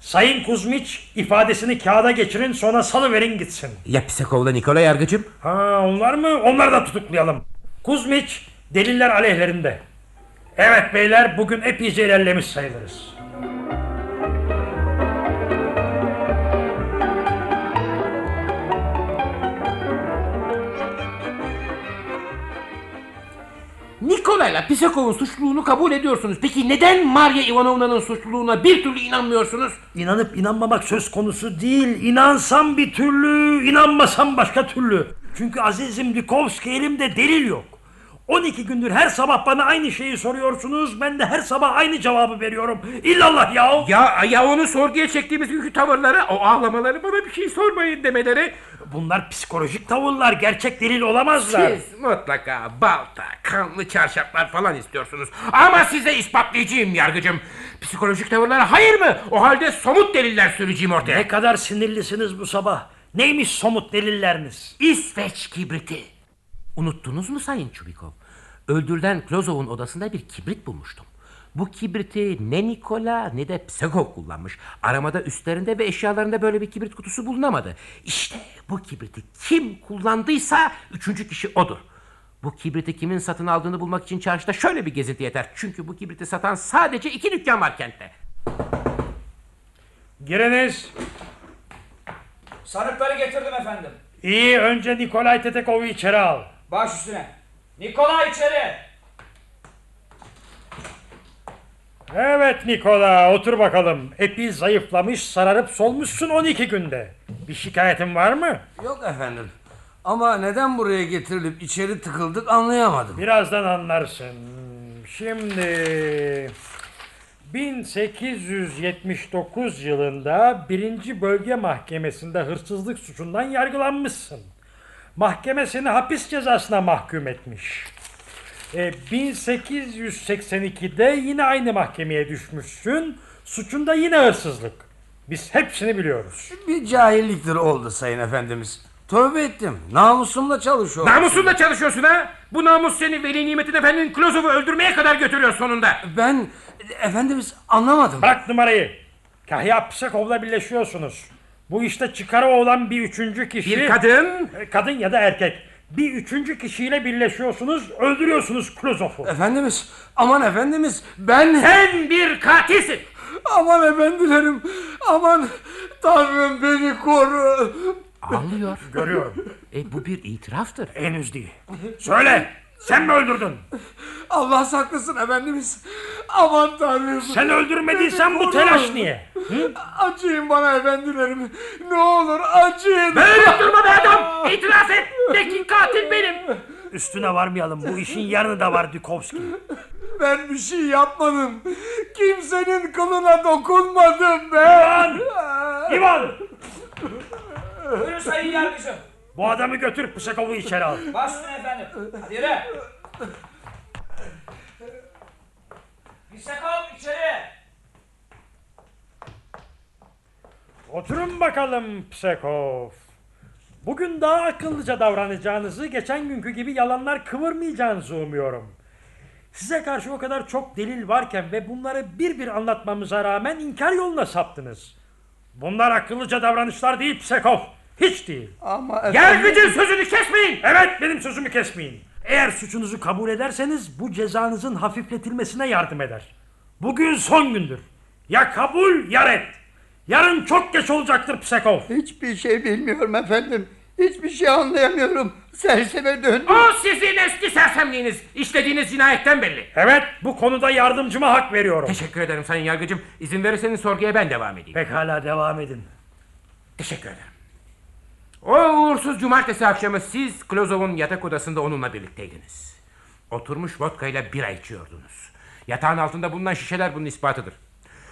Sayın Kuzmiç ifadesini kağıda geçirin sonra salıverin gitsin. Ya Psikov'la Nikolay yargıcım? Ha onlar mı? Onları da tutuklayalım. Kuzmiç deliller aleyhlerinde. Evet beyler bugün epeyce ilerlemiş sayılırız. Nikolay'la Pisakov'un suçluluğunu kabul ediyorsunuz. Peki neden Maria Ivanovna'nın suçluluğuna bir türlü inanmıyorsunuz? İnanıp inanmamak söz konusu değil. İnansam bir türlü, inanmasam başka türlü. Çünkü Azizim Dikovski elimde delil yok. 12 gündür her sabah bana aynı şeyi soruyorsunuz. Ben de her sabah aynı cevabı veriyorum. İllallah ya. Ya ya onu sorguya çektiğimiz günkü tavırları, o ağlamaları bana bir şey sormayın demeleri. Bunlar psikolojik tavırlar. Gerçek delil olamazlar. Siz mutlaka balta, kanlı çarşaflar falan istiyorsunuz. Ama size ispatlayacağım yargıcım. Psikolojik tavırlara hayır mı? O halde somut deliller süreceğim ortaya. Ne kadar sinirlisiniz bu sabah. Neymiş somut delilleriniz? İsveç kibriti. Unuttunuz mu Sayın Çubikov? Öldürülen Klozov'un odasında bir kibrit bulmuştum. Bu kibriti ne Nikola ne de Psekov kullanmış. Aramada üstlerinde ve eşyalarında böyle bir kibrit kutusu bulunamadı. İşte bu kibriti kim kullandıysa üçüncü kişi odur. Bu kibriti kimin satın aldığını bulmak için çarşıda şöyle bir gezinti yeter. Çünkü bu kibriti satan sadece iki dükkan var kentte. Giriniz. Sanıkları getirdim efendim. İyi önce Nikolay Tetekov'u içeri al. Baş üstüne. Nikola içeri. Evet Nikola otur bakalım. Epey zayıflamış sararıp solmuşsun 12 günde. Bir şikayetin var mı? Yok efendim. Ama neden buraya getirilip içeri tıkıldık anlayamadım. Birazdan anlarsın. Şimdi 1879 yılında birinci bölge mahkemesinde hırsızlık suçundan yargılanmışsın. Mahkeme seni hapis cezasına mahkum etmiş. E, 1882'de yine aynı mahkemeye düşmüşsün. Suçunda yine hırsızlık. Biz hepsini biliyoruz. Bir cahilliktir oldu sayın efendimiz. Tövbe ettim. Namusumla çalışıyorum. Namusunla çalışıyorsun ha? Bu namus seni veli nimetin efendinin Klozov'u öldürmeye kadar götürüyor sonunda. Ben efendimiz anlamadım. Bırak numarayı. Kahya Psekov'la birleşiyorsunuz. Bu işte çıkarı olan bir üçüncü kişi... Bir kadın. E, Kadın ya da erkek. Bir üçüncü kişiyle birleşiyorsunuz, öldürüyorsunuz Klozov'u. Efendimiz, aman efendimiz ben... Sen bir katilsin. Aman efendilerim, aman Tanrım beni koru. Ağlıyor. Görüyorum. E bu bir itiraftır. Henüz değil. Söyle, sen mi öldürdün? Allah saklasın efendimiz. Aman Tanrım. Sen öldürmediysen Beni bu koru. telaş niye? Hı? Acıyın bana efendilerim. Ne olur acıyın. Böyle durma be adam. İtiraf et. De ki katil benim. Üstüne varmayalım. Bu işin yarını da var Dukovski. Ben bir şey yapmadım. Kimsenin kılına dokunmadım ben. İvan! İvan! Buyurun sayın yargıcım. Bu adamı götür Psekov'u içeri al. Baş üstüne efendim. Hadi yürü. Misakov içeri. Oturun bakalım Psekov. Bugün daha akıllıca davranacağınızı, geçen günkü gibi yalanlar kıvırmayacağınızı umuyorum. Size karşı o kadar çok delil varken ve bunları bir bir anlatmamıza rağmen inkar yoluna saptınız. Bunlar akıllıca davranışlar değil Psekov. Hiç değil. Ama Yargıcın sözünü kesmeyin. Evet benim sözümü kesmeyin. Eğer suçunuzu kabul ederseniz bu cezanızın hafifletilmesine yardım eder. Bugün son gündür. Ya kabul ya red. Yarın çok geç olacaktır Psekov. Hiçbir şey bilmiyorum efendim. Hiçbir şey anlayamıyorum. Serseme döndüm. O sizin eski sersemliğiniz. işlediğiniz cinayetten belli. Evet bu konuda yardımcıma hak veriyorum. Teşekkür ederim sayın yargıcım. İzin verirseniz sorguya ben devam edeyim. Pekala devam edin. Teşekkür ederim. O uğursuz cumartesi akşamı siz Klozov'un yatak odasında onunla birlikteydiniz. Oturmuş vodkayla bira içiyordunuz. Yatağın altında bulunan şişeler bunun ispatıdır.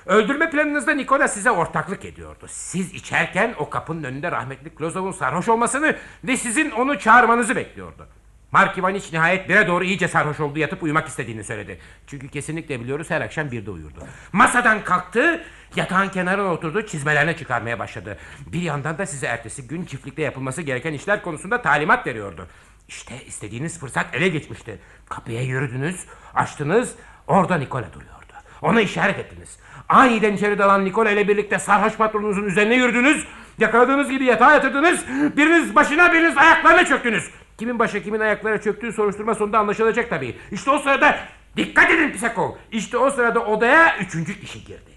Öldürme planınızda Nikola size ortaklık ediyordu. Siz içerken o kapının önünde rahmetli Klozov'un sarhoş olmasını ve sizin onu çağırmanızı bekliyordu. Mark Ivaniç nihayet bire doğru iyice sarhoş oldu yatıp uyumak istediğini söyledi. Çünkü kesinlikle biliyoruz her akşam birde uyurdu. Masadan kalktı, yatağın kenarına oturdu, çizmelerine çıkarmaya başladı. Bir yandan da size ertesi gün çiftlikte yapılması gereken işler konusunda talimat veriyordu. İşte istediğiniz fırsat ele geçmişti. Kapıya yürüdünüz, açtınız, orada Nikola duruyordu. Ona işaret ettiniz. Aniden içeri dalan Nikola ile birlikte sarhoş patronunuzun üzerine yürüdünüz. Yakaladığınız gibi yatağa yatırdınız. Biriniz başına biriniz ayaklarına çöktünüz. Kimin başa kimin ayaklara çöktüğü soruşturma sonunda anlaşılacak tabii. İşte o sırada dikkat edin Pisakov. İşte o sırada odaya üçüncü kişi girdi.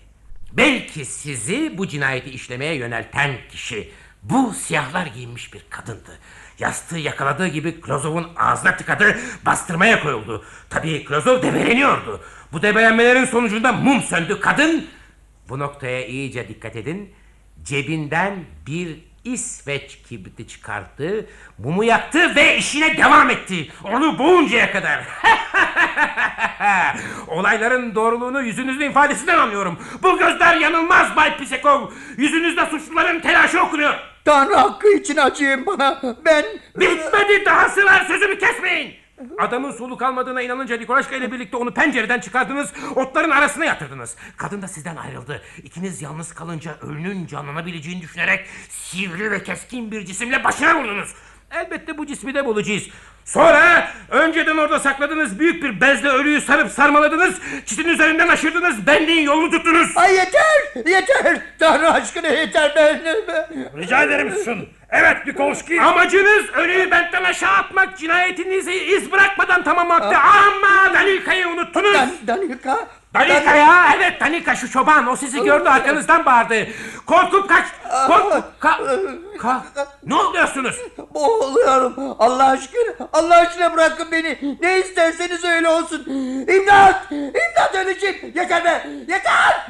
Belki sizi bu cinayeti işlemeye yönelten kişi Bu siyahlar giyinmiş bir kadındı. Yastığı yakaladığı gibi Klozov'un ağzına tıkadı, bastırmaya koyuldu. Tabii Klozov debeleniyordu. Bu debelenmelerin sonucunda mum söndü. Kadın, bu noktaya iyice dikkat edin, cebinden bir İsveç kibriti çıkarttı, mumu yaktı ve işine devam etti. Onu boğuncaya kadar. Olayların doğruluğunu yüzünüzün ifadesinden anlıyorum. Bu gözler yanılmaz Bay Pisekov. Yüzünüzde suçluların telaşı okunuyor. Tanrı hakkı için acıyın bana. Ben... Bitmedi dahası var sözümü kesmeyin. Adamın soluk almadığına inanınca Nikolaşka ile birlikte onu pencereden çıkardınız, otların arasına yatırdınız. Kadın da sizden ayrıldı. İkiniz yalnız kalınca ölünün canlanabileceğini düşünerek sivri ve keskin bir cisimle başına vurdunuz. Elbette bu cismi de bulacağız. Sonra önceden orada sakladığınız büyük bir bezle ölüyü sarıp sarmaladınız, çitin üzerinden aşırdınız, benliğin yolunu tuttunuz. Ay yeter, yeter. Tanrı aşkına yeter ben. Rica ederim susun. Evet Nikolski. Amacınız ölüyü bentten aşağı atmak, cinayetinizi iz bırakmadan tamamlattı. Ama Danika'yı unuttunuz. Danika? Danika ya, evet Danika şu çoban. O sizi gördü arkanızdan bağırdı. Korkup kaç, korkup ka- ka- Ne oluyorsunuz? Boğuluyorum. Allah aşkına, Allah aşkına bırakın beni. Ne isterseniz öyle olsun. İmdat, imdat öleceğim. Yeter be, yeter.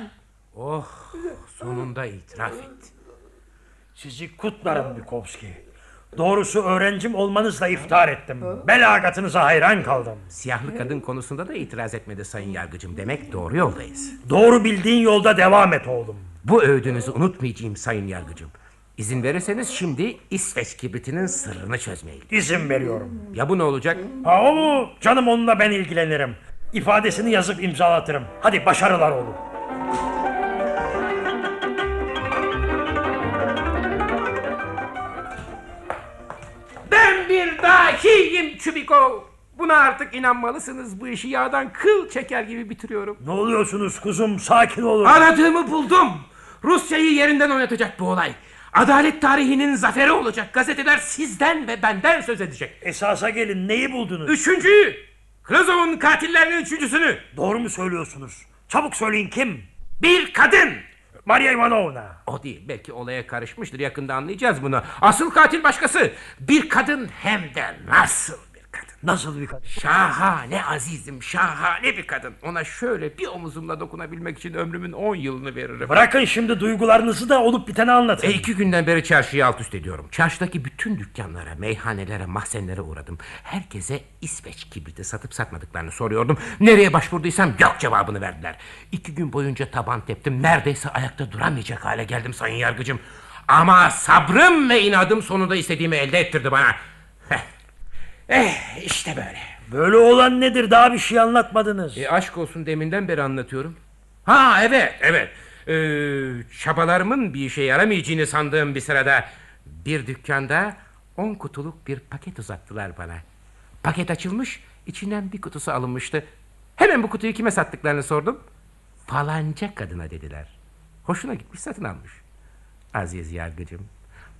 Oh, sonunda itiraf etti. Sizi kutlarım Nikolski. Doğrusu öğrencim olmanızla iftar ettim. Belagatınıza hayran kaldım. Siyahlı kadın konusunda da itiraz etmedi sayın yargıcım. Demek doğru yoldayız. Doğru bildiğin yolda devam et oğlum. Bu övdüğünüzü unutmayacağım sayın yargıcım. İzin verirseniz şimdi İsveç kibritinin sırrını çözmeyelim. İzin veriyorum. Ya bu ne olacak? Ha o mu? Canım onunla ben ilgilenirim. İfadesini yazıp imzalatırım. Hadi başarılar oğlum. Ben bir dahiyim Çubiko. Buna artık inanmalısınız. Bu işi yağdan kıl çeker gibi bitiriyorum. Ne oluyorsunuz kuzum? Sakin olun. Aradığımı buldum. Rusya'yı yerinden oynatacak bu olay. Adalet tarihinin zaferi olacak. Gazeteler sizden ve benden söz edecek. Esasa gelin neyi buldunuz? Üçüncüyü. Klozov'un katillerinin üçüncüsünü. Doğru mu söylüyorsunuz? Çabuk söyleyin kim? Bir kadın. Maria Ivanovna. O değil. Belki olaya karışmıştır. Yakında anlayacağız bunu. Asıl katil başkası. Bir kadın hem de nasıl bir kadın. Nasıl bir kadın? Şahane azizim. Şahane bir kadın. Ona şöyle bir omuzumla dokunabilmek için ömrümün 10 yılını veririm. Bırakın şimdi duygularınızı da olup biteni anlatın. E iki günden beri çarşıyı alt üst ediyorum. Çarşıdaki bütün dükkanlara, meyhanelere, mahzenlere uğradım. Herkese İsveç kibriti satıp satmadıklarını soruyordum. Nereye başvurduysam yok cevabını verdiler. İki gün boyunca taban teptim. Neredeyse ayakta duramayacak hale geldim sayın yargıcım. Ama sabrım ve inadım sonunda istediğimi elde ettirdi bana. Heh. Eh işte böyle. Böyle olan nedir? Daha bir şey anlatmadınız. E, aşk olsun deminden beri anlatıyorum. Ha evet evet. Ee, çabalarımın bir işe yaramayacağını sandığım bir sırada bir dükkanda on kutuluk bir paket uzattılar bana. Paket açılmış içinden bir kutusu alınmıştı. Hemen bu kutuyu kime sattıklarını sordum. Falanca kadına dediler. Hoşuna gitmiş satın almış. Aziz yargıcım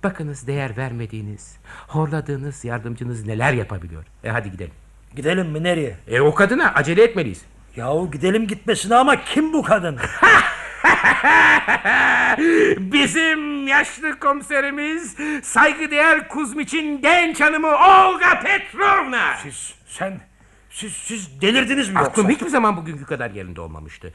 bakınız değer vermediğiniz, horladığınız yardımcınız neler yapabiliyor. E hadi gidelim. Gidelim mi nereye? E o kadına acele etmeliyiz. Yahu gidelim gitmesine ama kim bu kadın? Bizim yaşlı komiserimiz saygıdeğer Kuzmiç'in genç hanımı Olga Petrovna. Siz, sen, siz, siz delirdiniz mi Aklım yoksa? hiçbir zaman bugünkü kadar yerinde olmamıştı.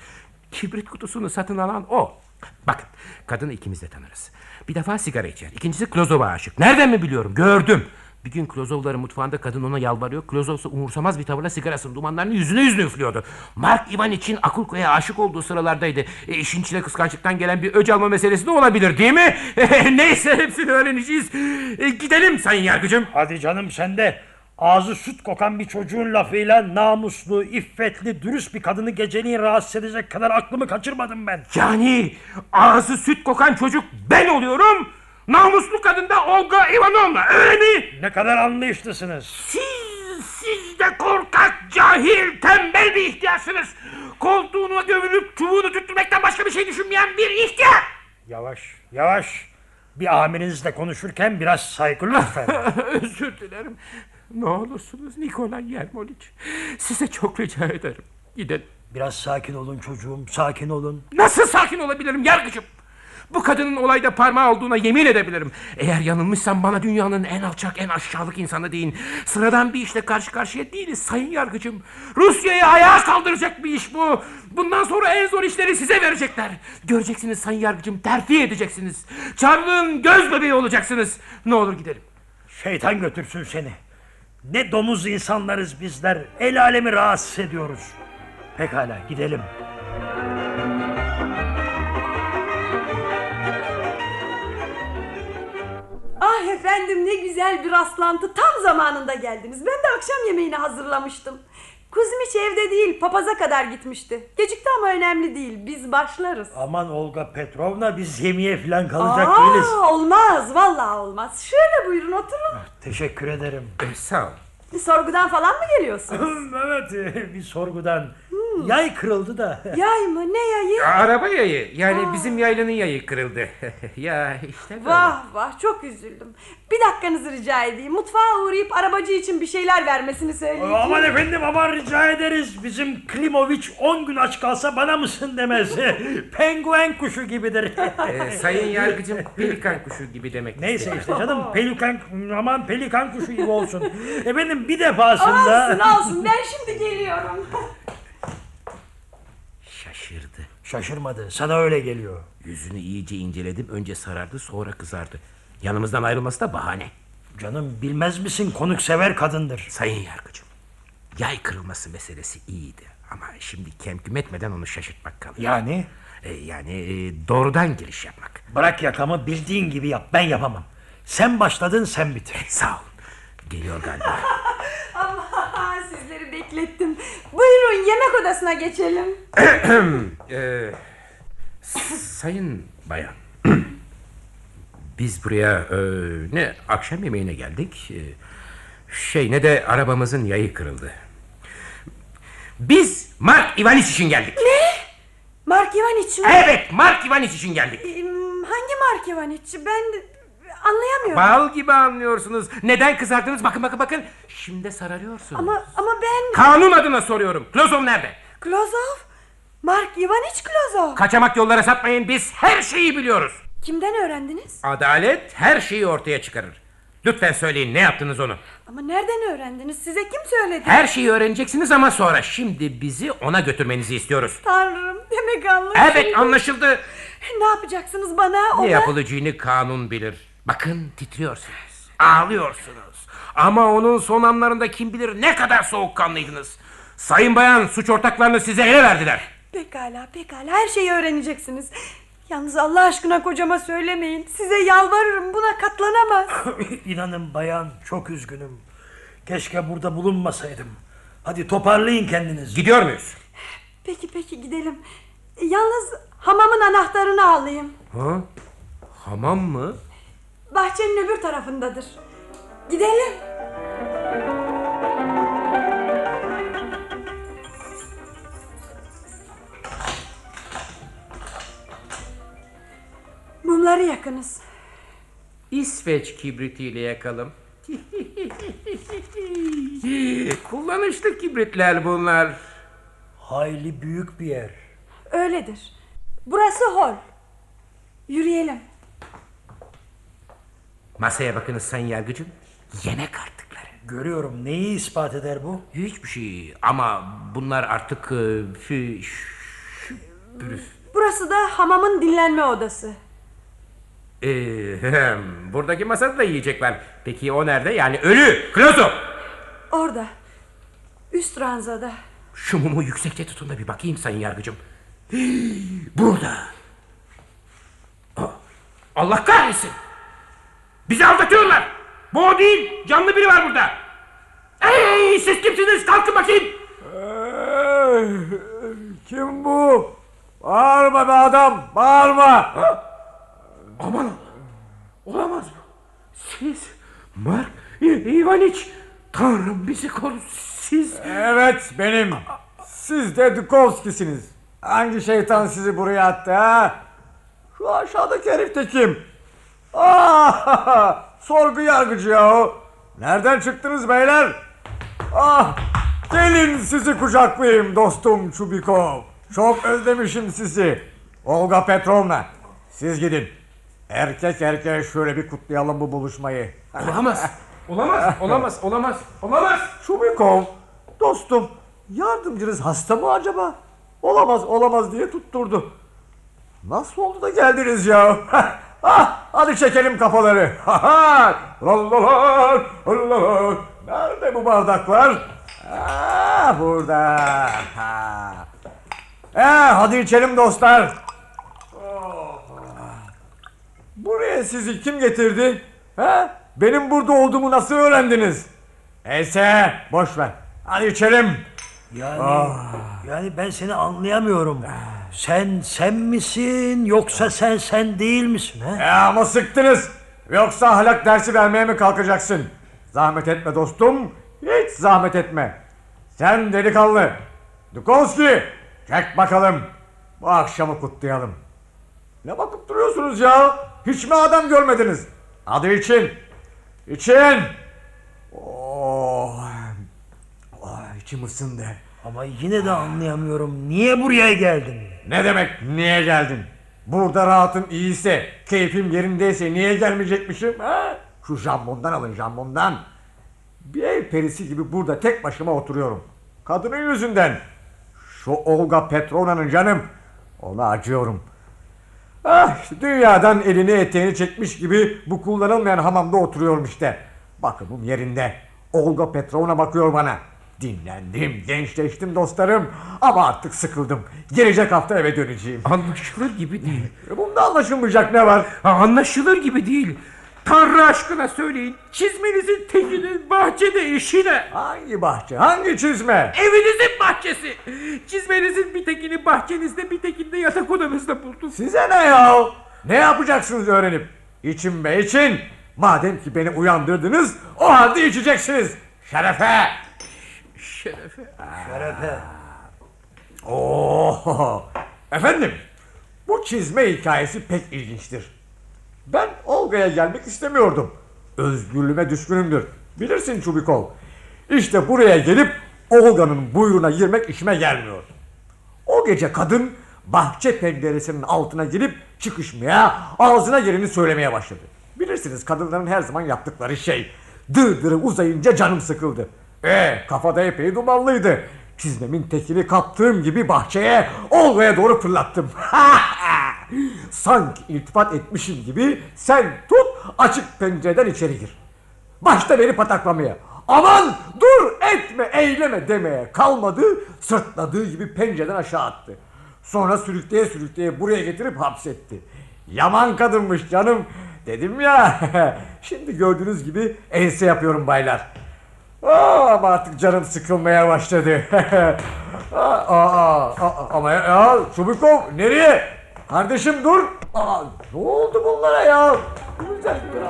Kibrit kutusunu satın alan o. Bakın kadını ikimiz de tanırız. Bir defa sigara içer. İkincisi Klozov'a aşık. Nereden mi biliyorum? Gördüm. Bir gün Klozovların mutfağında kadın ona yalvarıyor. Klozov ise umursamaz bir tavırla sigarasının dumanlarını yüzüne yüzüne üflüyordu. Mark Ivan için Akulko'ya aşık olduğu sıralardaydı. E, işin içine kıskançlıktan gelen bir öc alma meselesi de olabilir değil mi? Neyse hepsini öğreneceğiz. E, gidelim sayın yargıcım. Hadi canım sen de ağzı süt kokan bir çocuğun lafıyla namuslu, iffetli, dürüst bir kadını geceliğin rahatsız edecek kadar aklımı kaçırmadım ben. Yani ağzı süt kokan çocuk ben oluyorum. Namuslu kadın da Olga Ivanovna öyle mi? Ne kadar anlayışlısınız. Siz, siz de korkak, cahil, tembel bir ihtiyarsınız. Koltuğuna gömülüp çubuğunu tüttürmekten başka bir şey düşünmeyen bir ihtiyar. Yavaş, yavaş. Bir amirinizle konuşurken biraz saygı lütfen. Özür dilerim. Ne olursunuz Nikolay Yermoliç. Size çok rica ederim. Gidelim. Biraz sakin olun çocuğum, sakin olun. Nasıl sakin olabilirim yargıcım? Bu kadının olayda parmağı olduğuna yemin edebilirim. Eğer yanılmışsam bana dünyanın en alçak, en aşağılık insanı deyin. Sıradan bir işle karşı karşıya değiliz sayın yargıcım. Rusya'yı ayağa kaldıracak bir iş bu. Bundan sonra en zor işleri size verecekler. Göreceksiniz sayın yargıcım, terfi edeceksiniz. Çarlığın göz bebeği olacaksınız. Ne olur gidelim. Şeytan götürsün seni. Ne domuz insanlarız bizler. El alemi rahatsız ediyoruz. Pekala gidelim. Ah efendim ne güzel bir rastlantı tam zamanında geldiniz. Ben de akşam yemeğini hazırlamıştım. Kuzum hiç evde değil papaza kadar gitmişti. Gecikti ama önemli değil biz başlarız. Aman Olga Petrovna biz yemeğe falan kalacak Aa, değiliz. olmaz vallahi olmaz. Şöyle buyurun oturun. Teşekkür ederim. sağ ol. Sorgudan falan mı geliyorsunuz? evet e, bir sorgudan. Hmm. Yay kırıldı da. Yay mı ne yayı? Araba yayı. Yani bizim yaylanın yayı kırıldı. ya işte böyle. Vah vah çok üzüldüm. Bir dakikanızı rica edeyim. Mutfağa uğrayıp arabacı için bir şeyler vermesini söyleyeceğim. Aman efendim aman rica ederiz. Bizim Klimoviç 10 gün aç kalsa bana mısın demez. Penguen kuşu gibidir. Ee, sayın yargıcım pelikan kuşu gibi demek Neyse istedim. işte canım pelikan aman pelikan kuşu gibi olsun. Efendim bir defasında. Olsun olsun ben şimdi geliyorum. Şaşırdı. Şaşırmadı. Sana öyle geliyor. Yüzünü iyice inceledim. Önce sarardı sonra kızardı. Yanımızdan ayrılması da bahane. Canım bilmez misin konuksever kadındır. Sayın yargıcım. Yay kırılması meselesi iyiydi. Ama şimdi kemküm etmeden onu şaşırtmak kalıyor. Yani? Ee, yani e, doğrudan giriş yapmak. Bırak yakamı bildiğin gibi yap. Ben yapamam. Sen başladın sen bitir. Sağ ol. Geliyor galiba. Ama sizleri beklettim. Buyurun yemek odasına geçelim. Ee, sayın bayan. Biz buraya e, ne akşam yemeğine geldik. e, şey ne de arabamızın yayı kırıldı. Biz Mark Ivaniç için geldik. Ne? Mark Ivaniç mi? Evet Mark Ivaniç için geldik. Ee, Hangi Mark Ivaniç? Ben de- anlayamıyorum. Bal gibi anlıyorsunuz. Neden kızardınız? Bakın bakın bakın. Şimdi de sararıyorsunuz. Ama, ama ben... Kanun adına soruyorum. Klozov nerede? Klozov? Mark Ivaniç Klozov. Kaçamak yollara sapmayın. Biz her şeyi biliyoruz. Kimden öğrendiniz? Adalet her şeyi ortaya çıkarır. Lütfen söyleyin ne yaptınız onu? Ama nereden öğrendiniz? Size kim söyledi? Her şey- şeyi öğreneceksiniz ama sonra. Şimdi bizi ona götürmenizi istiyoruz. Tanrım demek anlaşıldı. Evet anlaşıldı. Ne yapacaksınız bana? Ne ona? yapılacağını kanun bilir. Bakın titriyorsunuz. Ağlıyorsunuz. Ama onun son anlarında kim bilir ne kadar soğukkanlıydınız. Sayın bayan suç ortaklarını size ele verdiler. Pekala pekala her şeyi öğreneceksiniz. Yalnız Allah aşkına kocama söylemeyin. Size yalvarırım buna katlanamaz. İnanın bayan çok üzgünüm. Keşke burada bulunmasaydım. Hadi toparlayın kendinizi. Gidiyor muyuz? Peki peki gidelim. Yalnız hamamın anahtarını alayım. Ha? Hamam mı? Bahçenin öbür tarafındadır. Gidelim. Mumları yakınız. İsveç kibritiyle yakalım. Kullanışlı kibritler bunlar. Hayli büyük bir yer. Öyledir. Burası hol. Yürüyelim. Masaya bakınız sayın yargıcım. Yemek artıkları. Görüyorum. Neyi ispat eder bu? Hiçbir şey ama bunlar artık e, fü- şu- pürüz. Burası da hamamın dinlenme odası. Ee, hem, buradaki masada da yiyecek var. Peki o nerede? Yani ölü. Klozo. Orada. Üst ranzada. Şu mumu yüksekçe tutun da bir bakayım sayın yargıcım. Hii, Burada. Aa, Allah kahretsin. Bizi aldatıyorlar. Bu o değil. Canlı biri var burada. Ey siz kimsiniz? Kalkın bakayım. Kim bu? Bağırma be adam, bağırma. Aman Olamaz bu. Siz Mark İ- İvaniç. Tanrım bizi koru. Siz... Evet benim. Siz de Dukovski'siniz. Hangi şeytan sizi buraya attı ha? Şu aşağıdaki herif de kim? Ah, sorgu yargıcı yahu. Nereden çıktınız beyler? Ah, gelin sizi kucaklayayım dostum Çubikov. Çok özlemişim sizi. Olga Petrovna, Siz gidin. Erkek erkeğe şöyle bir kutlayalım bu buluşmayı. Olamaz. Olamaz, olamaz, olamaz, olamaz. Çubikov, dostum yardımcınız hasta mı acaba? Olamaz, olamaz diye tutturdu. Nasıl oldu da geldiniz ya? ah, hadi çekelim kafaları. Ha ha! Lallalar, lallalar. Nerede bu bardaklar? Ah, burada. Ha. Eh, hadi içelim dostlar. Buraya sizi kim getirdi? Ha? Benim burada olduğumu nasıl öğrendiniz? Neyse boş ver. Hadi içelim. Yani, Ah. yani ben seni anlayamıyorum. Sen sen misin yoksa sen sen değil misin? He? E ama sıktınız. Yoksa ahlak dersi vermeye mi kalkacaksın? Zahmet etme dostum. Hiç zahmet etme. Sen delikanlı. Dukovski. Çek bakalım. Bu akşamı kutlayalım. Ne bakıp duruyorsunuz ya? Hiç mi adam görmediniz? Hadi için. İçin. Oh. Oh, içim ısındı. Ama yine de anlayamıyorum. Niye buraya geldin? Ne demek niye geldin? Burada rahatım iyiyse, keyfim yerindeyse niye gelmeyecekmişim? Ha? Şu jambondan alın jambondan. Bir ev perisi gibi burada tek başıma oturuyorum. Kadının yüzünden. Şu Olga Petrona'nın canım. Ona acıyorum. Ah dünyadan elini eteğini çekmiş gibi bu kullanılmayan hamamda oturuyorum işte. Bakımım yerinde. Olga Petrovna bakıyor bana. Dinlendim, gençleştim dostlarım. Ama artık sıkıldım. Gelecek hafta eve döneceğim. Anlaşılır gibi değil. E, Bunda anlaşılmayacak ne var? anlaşılır gibi değil. Tanrı aşkına söyleyin. Çizmenizin tekinin bahçede işi ne? Hangi bahçe? Hangi çizme? Evinizin bahçesi. Çizmenizin bir tekini bahçenizde bir tekini de yatak odanızda buldum. Size ne ya? Ne yapacaksınız öğrenip? İçin be için. Madem ki beni uyandırdınız o halde içeceksiniz. Şerefe. Şerefe. Şerefe. Oo. Efendim, bu çizme hikayesi pek ilginçtir. Ben Olga'ya gelmek istemiyordum. Özgürlüğüme düşkünümdür. Bilirsin Çubikov. İşte buraya gelip Olga'nın buyruğuna girmek işime gelmiyor. O gece kadın bahçe penceresinin altına girip çıkışmaya, ağzına geleni söylemeye başladı. Bilirsiniz kadınların her zaman yaptıkları şey. Dırdırı uzayınca canım sıkıldı. E kafada epey dumanlıydı. Çizmemin tekini kaptığım gibi bahçeye, Olga'ya doğru fırlattım. Sanki iltifat etmişim gibi sen tut açık pencereden içeri gir. Başta beni pataklamaya. Aman dur etme eyleme demeye kalmadı. Sırtladığı gibi pencereden aşağı attı. Sonra sürükleye sürükleye buraya getirip hapsetti. Yaman kadınmış canım. Dedim ya. Şimdi gördüğünüz gibi ense yapıyorum baylar. Aa, ama artık canım sıkılmaya başladı. aa, aa, aa, ama ya, ya Çubukov nereye? Kardeşim dur. Aa, ne oldu bunlara ya? Güzel bir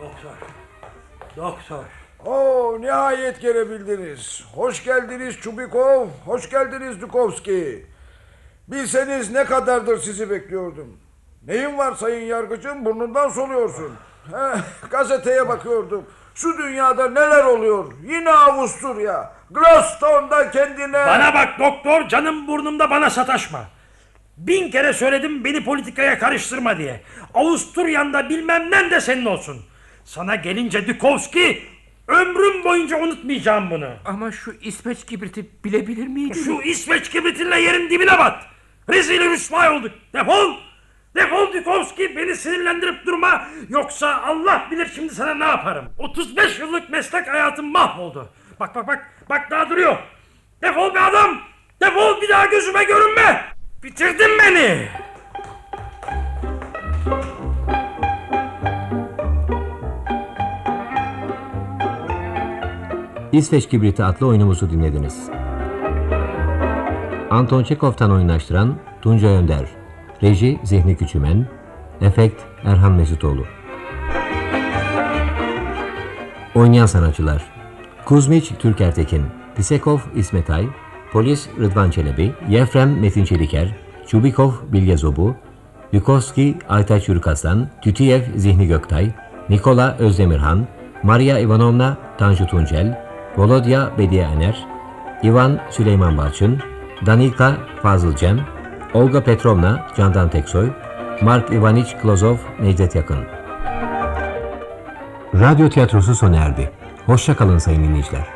Doktor. Doktor. Oo nihayet gelebildiniz. Hoş geldiniz Çubikov, hoş geldiniz Dukovski. Bilseniz ne kadardır sizi bekliyordum. Neyin var sayın yargıcım? Burnundan soluyorsun. Heh, gazeteye bakıyordum. Şu dünyada neler oluyor? Yine Avusturya. Glaston'da kendine... Bana bak doktor canım burnumda bana sataşma. Bin kere söyledim beni politikaya karıştırma diye. Avusturya'nda bilmem ne de senin olsun. Sana gelince Dukovski ömrüm boyunca unutmayacağım bunu. Ama şu İsveç kibriti bilebilir miydim? Şu İsveç kibritinle yerin dibine bat. Rezil rüsvay olduk. Defol. Defol Dukovski beni sinirlendirip durma. Yoksa Allah bilir şimdi sana ne yaparım. 35 yıllık meslek hayatım mahvoldu. Bak bak bak. Bak daha duruyor. Defol be adam. Defol bir daha gözüme görünme. Bitirdin beni. İsveç Kibriti adlı oyunumuzu dinlediniz. Anton Çekov'tan oyunlaştıran Tunca Önder, Reji Zihni Küçümen, Efekt Erhan Mesutoğlu. Oynayan sanatçılar Kuzmiç Türkertekin, Pisekov İsmet Ay, Polis Rıdvan Çelebi, Yefrem Metin Çeliker, Çubikov Bilge Zobu, Yukovski Aytaç Yürükaslan, Tütiyev Zihni Göktay, Nikola Özdemirhan, Maria Ivanovna Tanju Tuncel, Volodya Bedianer, Ivan Süleyman Barçın, Danilka Fazıl Cem, Olga Petrovna Candan Teksoy, Mark Ivaniç Klozov Necdet Yakın. Radyo tiyatrosu sona erdi. Hoşça kalın sayın dinleyiciler.